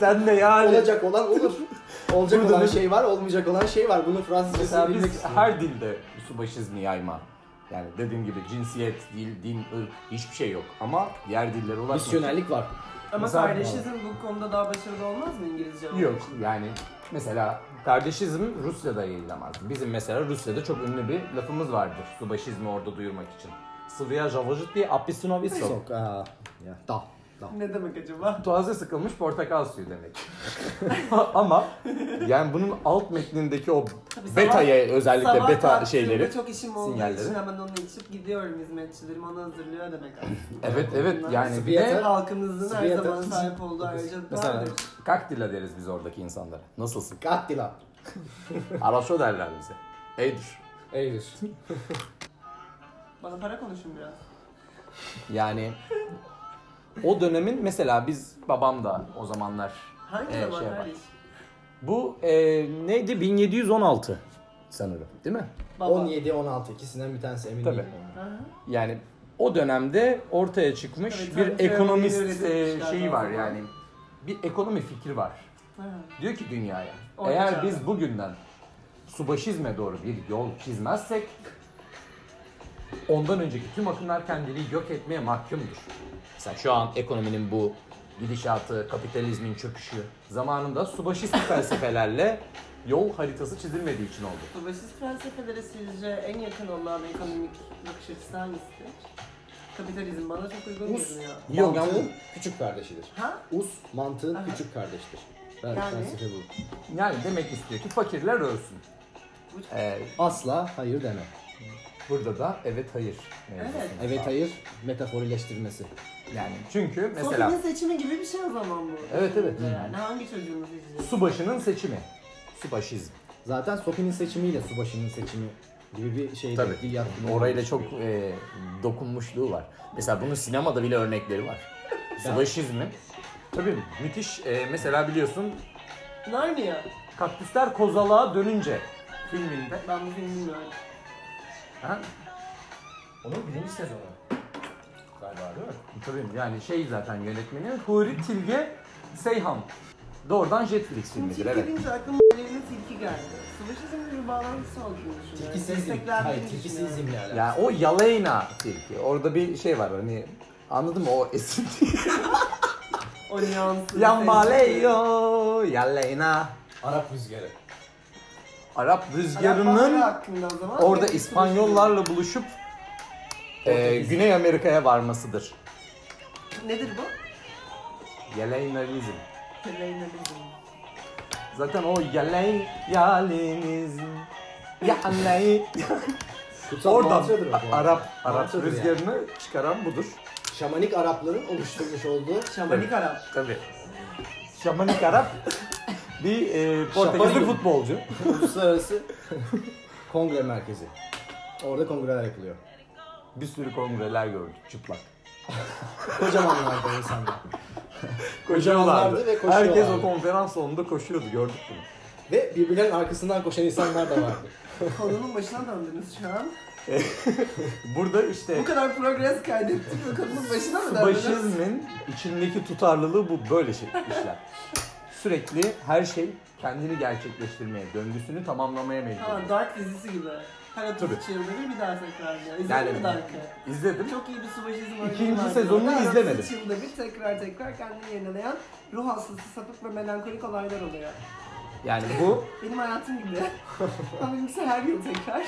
[SPEAKER 3] Sen de yani.
[SPEAKER 11] Olacak olan olur. Olacak
[SPEAKER 3] Burada
[SPEAKER 11] olan
[SPEAKER 3] bir-
[SPEAKER 11] şey var, olmayacak olan şey var. Bunu Fransızcasını
[SPEAKER 3] Mesela
[SPEAKER 11] bilmek
[SPEAKER 3] biz
[SPEAKER 11] istiyorum.
[SPEAKER 3] her dilde subaşizmi yayma. Yani dediğim gibi cinsiyet, dil, din, ırk hiçbir şey yok. Ama diğer dillere ulaşmak.
[SPEAKER 11] Misyonerlik var.
[SPEAKER 12] Ama
[SPEAKER 3] Mesela-
[SPEAKER 12] kardeşizm bu konuda daha başarılı olmaz mı İngilizce? olduğu
[SPEAKER 3] Yok
[SPEAKER 12] için?
[SPEAKER 3] yani mesela kardeşizm Rusya'da yayınlamaz. Bizim mesela Rusya'da çok ünlü bir lafımız vardır. Subaşizmi orada duyurmak için. Sıvıya javajit diye apisinoviso.
[SPEAKER 11] Sok. Aa, ya. Da. Da.
[SPEAKER 12] Ne demek acaba?
[SPEAKER 3] Taze sıkılmış portakal suyu demek. Ama yani bunun alt metnindeki o beta'ya özellikle
[SPEAKER 12] Sabah
[SPEAKER 3] beta
[SPEAKER 12] kalktığımda
[SPEAKER 3] şeyleri.
[SPEAKER 12] çok işim olduğu
[SPEAKER 3] sinyalleri.
[SPEAKER 12] için hemen onu içip gidiyorum hizmetçilerim. Onu hazırlıyor demek aslında.
[SPEAKER 3] Evet evet
[SPEAKER 12] Bunlar
[SPEAKER 3] yani bir de
[SPEAKER 11] Spiyata-
[SPEAKER 12] Halkımızın her
[SPEAKER 11] Spiyata-
[SPEAKER 12] zaman sahip olduğu ayrıcalıklardır.
[SPEAKER 3] mesela hani kaktila deriz biz oradaki insanlara. Nasılsın?
[SPEAKER 11] Kattila.
[SPEAKER 3] Araşo derler bize. Eydir.
[SPEAKER 11] Eydir.
[SPEAKER 12] Bana para konuşun biraz.
[SPEAKER 3] Yani o dönemin mesela biz babam da o zamanlar
[SPEAKER 12] Hangi
[SPEAKER 3] e,
[SPEAKER 12] zaman
[SPEAKER 3] şey
[SPEAKER 12] her
[SPEAKER 3] yapar.
[SPEAKER 12] iş?
[SPEAKER 3] Bu e, neydi 1716 sanırım değil mi?
[SPEAKER 12] Baba.
[SPEAKER 11] 17, 16 ikisinden bir tanesi emin
[SPEAKER 3] Tabii.
[SPEAKER 11] değilim.
[SPEAKER 12] Hı hı.
[SPEAKER 3] Yani o dönemde ortaya çıkmış
[SPEAKER 12] Tabii,
[SPEAKER 3] bir
[SPEAKER 12] tabii, şey
[SPEAKER 3] ekonomist
[SPEAKER 12] teorileri
[SPEAKER 3] e,
[SPEAKER 12] üretmişler
[SPEAKER 3] şeyi
[SPEAKER 12] daha
[SPEAKER 3] var
[SPEAKER 12] sonra.
[SPEAKER 3] yani. Bir ekonomi fikri var.
[SPEAKER 12] Hı hı.
[SPEAKER 3] Diyor ki dünyaya
[SPEAKER 12] Orta
[SPEAKER 3] eğer
[SPEAKER 12] çağda.
[SPEAKER 3] biz bugünden subaşizme doğru bir yol çizmezsek ondan önceki tüm akımlar kendini yok etmeye mahkumdur. Mesela şu an ekonominin bu gidişatı, kapitalizmin çöküşü zamanında subaşist felsefelerle yol haritası çizilmediği için oldu.
[SPEAKER 12] Faşist felsefelere sizce en yakın olan ekonomik bakış açısı hangisi? Kapitalizm bana çok uygun
[SPEAKER 11] Us
[SPEAKER 12] görünüyor.
[SPEAKER 3] Yok,
[SPEAKER 11] mantığın küçük kardeşidir.
[SPEAKER 12] Ha?
[SPEAKER 11] Us mantığın
[SPEAKER 12] Aha.
[SPEAKER 11] küçük kardeştir. Ben
[SPEAKER 12] Yani?
[SPEAKER 11] felsefe bu.
[SPEAKER 3] Yani demek istiyor ki fakirler ölsün. Ee,
[SPEAKER 11] Asla hayır deme.
[SPEAKER 3] burada da evet hayır. mevzusu
[SPEAKER 12] Evet.
[SPEAKER 11] Evet
[SPEAKER 3] var.
[SPEAKER 11] hayır metaforileştirmesi.
[SPEAKER 3] Yani çünkü mesela
[SPEAKER 12] Sofi'nin seçimi gibi bir şey o zaman bu.
[SPEAKER 3] Evet, evet.
[SPEAKER 12] Yani hangi çocuğunu seçeceğiz?
[SPEAKER 3] subaşının seçimi. Subaşizm.
[SPEAKER 11] Zaten Sofi'nin seçimiyle Subaşı'nın seçimi gibi bir şey.
[SPEAKER 3] Tabii.
[SPEAKER 11] Bir yakın-
[SPEAKER 3] Orayla çok e, dokunmuşluğu var. Mesela bunun sinemada bile örnekleri var. Subaşizmi. Tabii müthiş. E, mesela biliyorsun
[SPEAKER 12] Narnia.
[SPEAKER 3] Kaktüsler Kozalığa Dönünce filminde.
[SPEAKER 12] Ben bu filmi bilmiyorum.
[SPEAKER 3] Ha?
[SPEAKER 11] Onun birinci sezonu. Galiba değil mi?
[SPEAKER 3] Tabii yani şey zaten yönetmeni Huri Tilge Seyhan. Doğrudan Jetflix filmidir
[SPEAKER 12] Tilki
[SPEAKER 3] evet.
[SPEAKER 12] deyince aklıma evine tilki geldi. Savaşızın bir bağlantısı olduğunu düşünüyorum.
[SPEAKER 11] Tikisizm.
[SPEAKER 12] Desteklendiğini
[SPEAKER 11] Hayır
[SPEAKER 12] düşünüyorum.
[SPEAKER 11] tikisizmle alakalı.
[SPEAKER 3] Ya o Yalena tilki. Orada bir şey var hani anladın mı o esinti.
[SPEAKER 12] O nüansını seçti.
[SPEAKER 3] Yambaleyo Yalena.
[SPEAKER 11] Arap rüzgarı.
[SPEAKER 3] Arap
[SPEAKER 12] Arap
[SPEAKER 3] rüzgarının
[SPEAKER 12] Baharı hakkında o zaman.
[SPEAKER 3] orada
[SPEAKER 12] bir
[SPEAKER 3] İspanyollarla buluşup e,
[SPEAKER 11] Portekiz.
[SPEAKER 3] Güney Amerika'ya varmasıdır.
[SPEAKER 12] savaşın- Nedir bu?
[SPEAKER 3] Yalenalizm.
[SPEAKER 12] Pelerinalizm.
[SPEAKER 3] Zaten o Yalen Yalenizm. Yalen.
[SPEAKER 11] Kutsal
[SPEAKER 3] Oradan
[SPEAKER 11] mantradır o bu arada.
[SPEAKER 3] Arap Arap
[SPEAKER 11] Mantradır yani.
[SPEAKER 3] rüzgarını çıkaran budur.
[SPEAKER 11] Şamanik Arapların oluşturmuş olduğu
[SPEAKER 12] Şamanik Arap.
[SPEAKER 3] Tabii. Şamanik Arap bir e, Portekizli
[SPEAKER 11] Şamanik.
[SPEAKER 3] futbolcu.
[SPEAKER 11] uluslararası kongre merkezi. Orada kongreler yapılıyor.
[SPEAKER 3] Bir sürü kongreler gördük çıplak.
[SPEAKER 11] Kocamanlardı insanlar.
[SPEAKER 3] Koşuyorlardı.
[SPEAKER 11] Koşuyorlardı ve koşuyorlardı.
[SPEAKER 3] Herkes o konferans salonunda koşuyordu gördük bunu.
[SPEAKER 11] Ve birbirlerinin arkasından koşan insanlar da vardı.
[SPEAKER 12] Konunun başına döndünüz şu an.
[SPEAKER 3] Burada işte
[SPEAKER 12] Bu kadar progres kaydettik ve konunun başına mı döndünüz?
[SPEAKER 3] faşizmin içindeki tutarlılığı bu böyle şey işler. Sürekli her şey kendini gerçekleştirmeye, döngüsünü tamamlamaya
[SPEAKER 12] Ha,
[SPEAKER 3] mecbur.
[SPEAKER 12] Dark dizisi gibi. Her 33 yıldır bir daha tekrarlıyor. İzledin
[SPEAKER 3] Yani-
[SPEAKER 12] mi Dark'ı?
[SPEAKER 3] İzledim.
[SPEAKER 12] Çok iyi bir subaşizm örneği
[SPEAKER 3] İkinci
[SPEAKER 12] vardı
[SPEAKER 3] sezonunu
[SPEAKER 12] orada. Her
[SPEAKER 3] izlemedim.
[SPEAKER 12] 33 yılda bir tekrar tekrar kendini yenileyen ruh hastası, sapık ve melankolik olaylar oluyor.
[SPEAKER 3] Yani bu
[SPEAKER 12] Benim hayatım gibi. Ama benimkisi her yıl tekrar.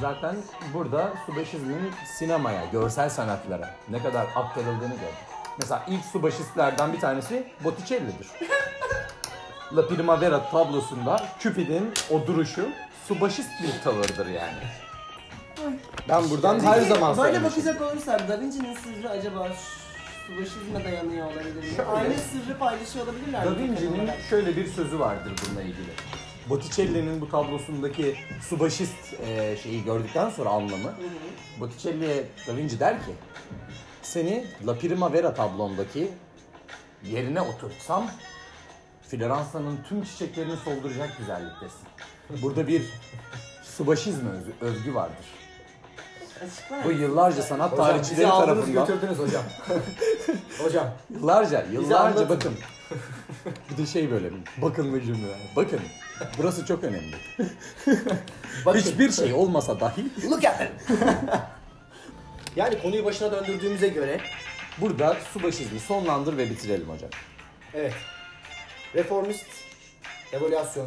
[SPEAKER 3] zaten burada subaşizmin sinemaya, görsel sanatlara ne kadar aktarıldığını gördük. Mesela ilk subaşistlerden bir tanesi Botticelli'dir. La Primavera tablosunda Cupid'in o duruşu subaşist bir tavırdır yani. Ben buradan her
[SPEAKER 12] Peki,
[SPEAKER 3] zaman
[SPEAKER 12] Böyle
[SPEAKER 3] söylemişim.
[SPEAKER 12] bakacak olursak Da Vinci'nin sırrı acaba şu- faşizme dayanıyor olabilir mi?
[SPEAKER 3] Şöyle.
[SPEAKER 12] Aynı sırrı paylaşıyor olabilirler.
[SPEAKER 3] Da
[SPEAKER 12] mi?
[SPEAKER 3] Vinci'nin şöyle bir sözü vardır bununla ilgili. Botticelli'nin bu tablosundaki subaşist e, şeyi gördükten sonra anlamı. Botticelli'ye Da Vinci der ki seni La Primavera tablondaki yerine oturtsam Floransa'nın tüm çiçeklerini solduracak güzelliktesin. Burada bir subaşizm özgü, övgü vardır.
[SPEAKER 12] Açıklar
[SPEAKER 3] Bu
[SPEAKER 12] mısın?
[SPEAKER 3] yıllarca sanat tarihçileri tarafından...
[SPEAKER 12] hocam.
[SPEAKER 3] Hocam. Yıllarca,
[SPEAKER 12] anlatın.
[SPEAKER 3] yıllarca bakın. Bir de şey böyle, bakın bu cümle. Bakın, burası çok önemli. Hiçbir şey olmasa dahi... Look at yani konuyu başına döndürdüğümüze göre... Burada subaşizmi sonlandır ve bitirelim hocam.
[SPEAKER 14] Evet. Reformist evolüasyon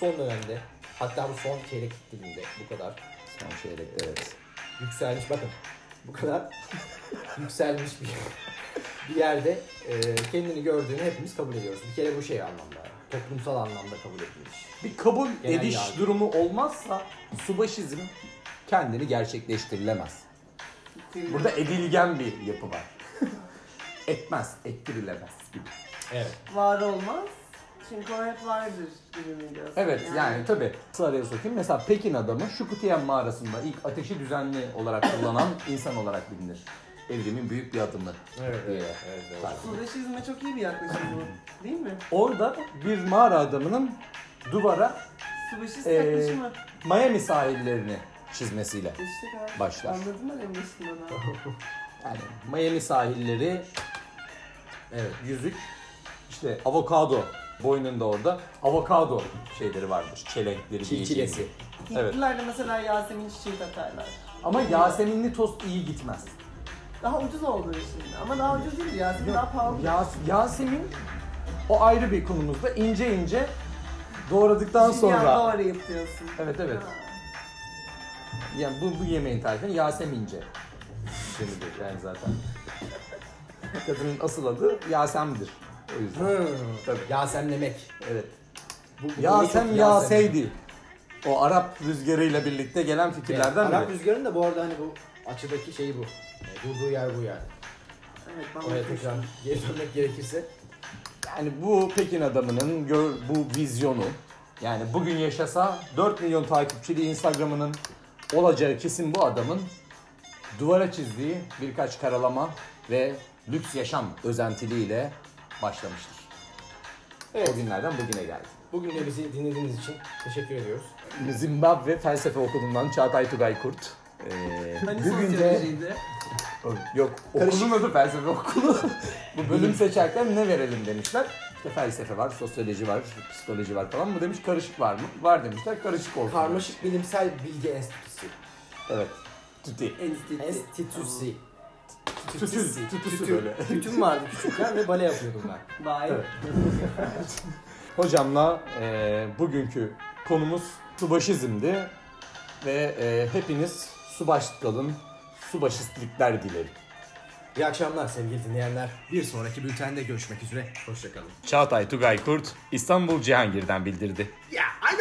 [SPEAKER 14] son dönemde hatta bu son çeyrek diliminde bu kadar
[SPEAKER 3] Son çeyrek evet.
[SPEAKER 14] yükselmiş bakın bu kadar yükselmiş bir bir yerde e, kendini gördüğünü hepimiz kabul ediyoruz. Bir kere bu şey anlamda toplumsal anlamda kabul edilmiş.
[SPEAKER 3] Bir kabul
[SPEAKER 14] Genel
[SPEAKER 3] ediş
[SPEAKER 14] yargı.
[SPEAKER 3] durumu olmazsa subaşizm kendini gerçekleştirilemez. Burada edilgen bir yapı var. Etmez, ettirilemez gibi. Evet.
[SPEAKER 12] Var olmaz. Çünkü o hep vardır gibi mi diyorsun?
[SPEAKER 3] Evet yani, tabii. Nasıl araya sokayım? Mesela Pekin adamı Şukutiyen mağarasında ilk ateşi düzenli olarak kullanan insan olarak bilinir. Evrimin büyük bir adımı.
[SPEAKER 14] Evet,
[SPEAKER 3] diye
[SPEAKER 14] evet, evet, evet.
[SPEAKER 3] tarif edilir.
[SPEAKER 12] Faşizme çok iyi bir yaklaşım bu. Değil mi?
[SPEAKER 3] Orada bir mağara adamının duvara
[SPEAKER 12] Subaşist
[SPEAKER 3] eee,
[SPEAKER 12] yaklaşımı.
[SPEAKER 3] Miami sahillerini çizmesiyle
[SPEAKER 12] İşte abi.
[SPEAKER 3] başlar.
[SPEAKER 12] Anladın mı benim başımdan abi?
[SPEAKER 3] Yani Miami sahilleri evet yüzük işte avokado boynunda orada avokado şeyleri vardır. Çelenkleri
[SPEAKER 14] Çilçilesi.
[SPEAKER 3] diyeceğim. Evet.
[SPEAKER 12] Hintliler de mesela Yasemin çiçeği takarlar.
[SPEAKER 3] Ama Yaseminli tost iyi gitmez.
[SPEAKER 12] Daha ucuz olduğu için. Ama daha ucuz değil Yasemin daha pahalı.
[SPEAKER 3] Yas- Yasemin o ayrı bir konumuzda ince ince doğradıktan
[SPEAKER 12] Dünyada
[SPEAKER 3] sonra.
[SPEAKER 12] orayı diyorsun.
[SPEAKER 3] Evet evet. Yani bu, bu yemeğin tarifini Yasemince. denilir yani zaten. Kadının asıl adı Yasem'dir. O yüzden. Tabii. Yasemlemek. Evet.
[SPEAKER 14] bu
[SPEAKER 3] Yasem
[SPEAKER 14] çok Yasem.
[SPEAKER 3] Yaseydi. O Arap rüzgarıyla birlikte gelen fikirlerden
[SPEAKER 14] Evet, Arap
[SPEAKER 3] biri.
[SPEAKER 14] rüzgarının da bu arada hani bu açıdaki şeyi bu. E, durduğu yer bu yani.
[SPEAKER 12] Evet,
[SPEAKER 14] Oraya tekrar geri dönmek gerekirse.
[SPEAKER 3] Yani bu Pekin adamının gör, bu vizyonu yani bugün yaşasa 4 milyon takipçili Instagram'ının olacağı kesin bu adamın duvara çizdiği birkaç karalama ve lüks yaşam özentiliğiyle başlamıştır.
[SPEAKER 14] Evet.
[SPEAKER 3] O günlerden bugüne geldi.
[SPEAKER 14] Bugün de bizi dinlediğiniz için teşekkür ediyoruz.
[SPEAKER 3] Zimbabwe Felsefe Okulu'ndan Çağatay Tugay Kurt. Ee,
[SPEAKER 12] Hani
[SPEAKER 3] bugün de Yok okulun adı felsefe okulu. Bu bölüm seçerken ne verelim demişler. İşte felsefe var, sosyoloji var, psikoloji var falan. Bu demiş karışık var mı? Var demişler karışık olsun.
[SPEAKER 14] Karmaşık Bilimsel Bilgi Enstitüsü.
[SPEAKER 3] Evet. Tüti.
[SPEAKER 14] Enstitüsü.
[SPEAKER 3] Tütüsü. Tütüsü
[SPEAKER 14] Tütü.
[SPEAKER 3] böyle.
[SPEAKER 14] Tütüm vardı küçükken ve bale yapıyordum ben.
[SPEAKER 12] Vay.
[SPEAKER 3] Evet. Hocamla e, bugünkü konumuz subaşizmdi. Ve e, hepiniz subaşit kalın, subaşistlikler dilerim.
[SPEAKER 14] İyi akşamlar sevgili dinleyenler. Bir sonraki bültende görüşmek üzere. Hoşçakalın.
[SPEAKER 15] Çağatay Tugay Kurt İstanbul Cihangir'den bildirdi.
[SPEAKER 14] Ya ay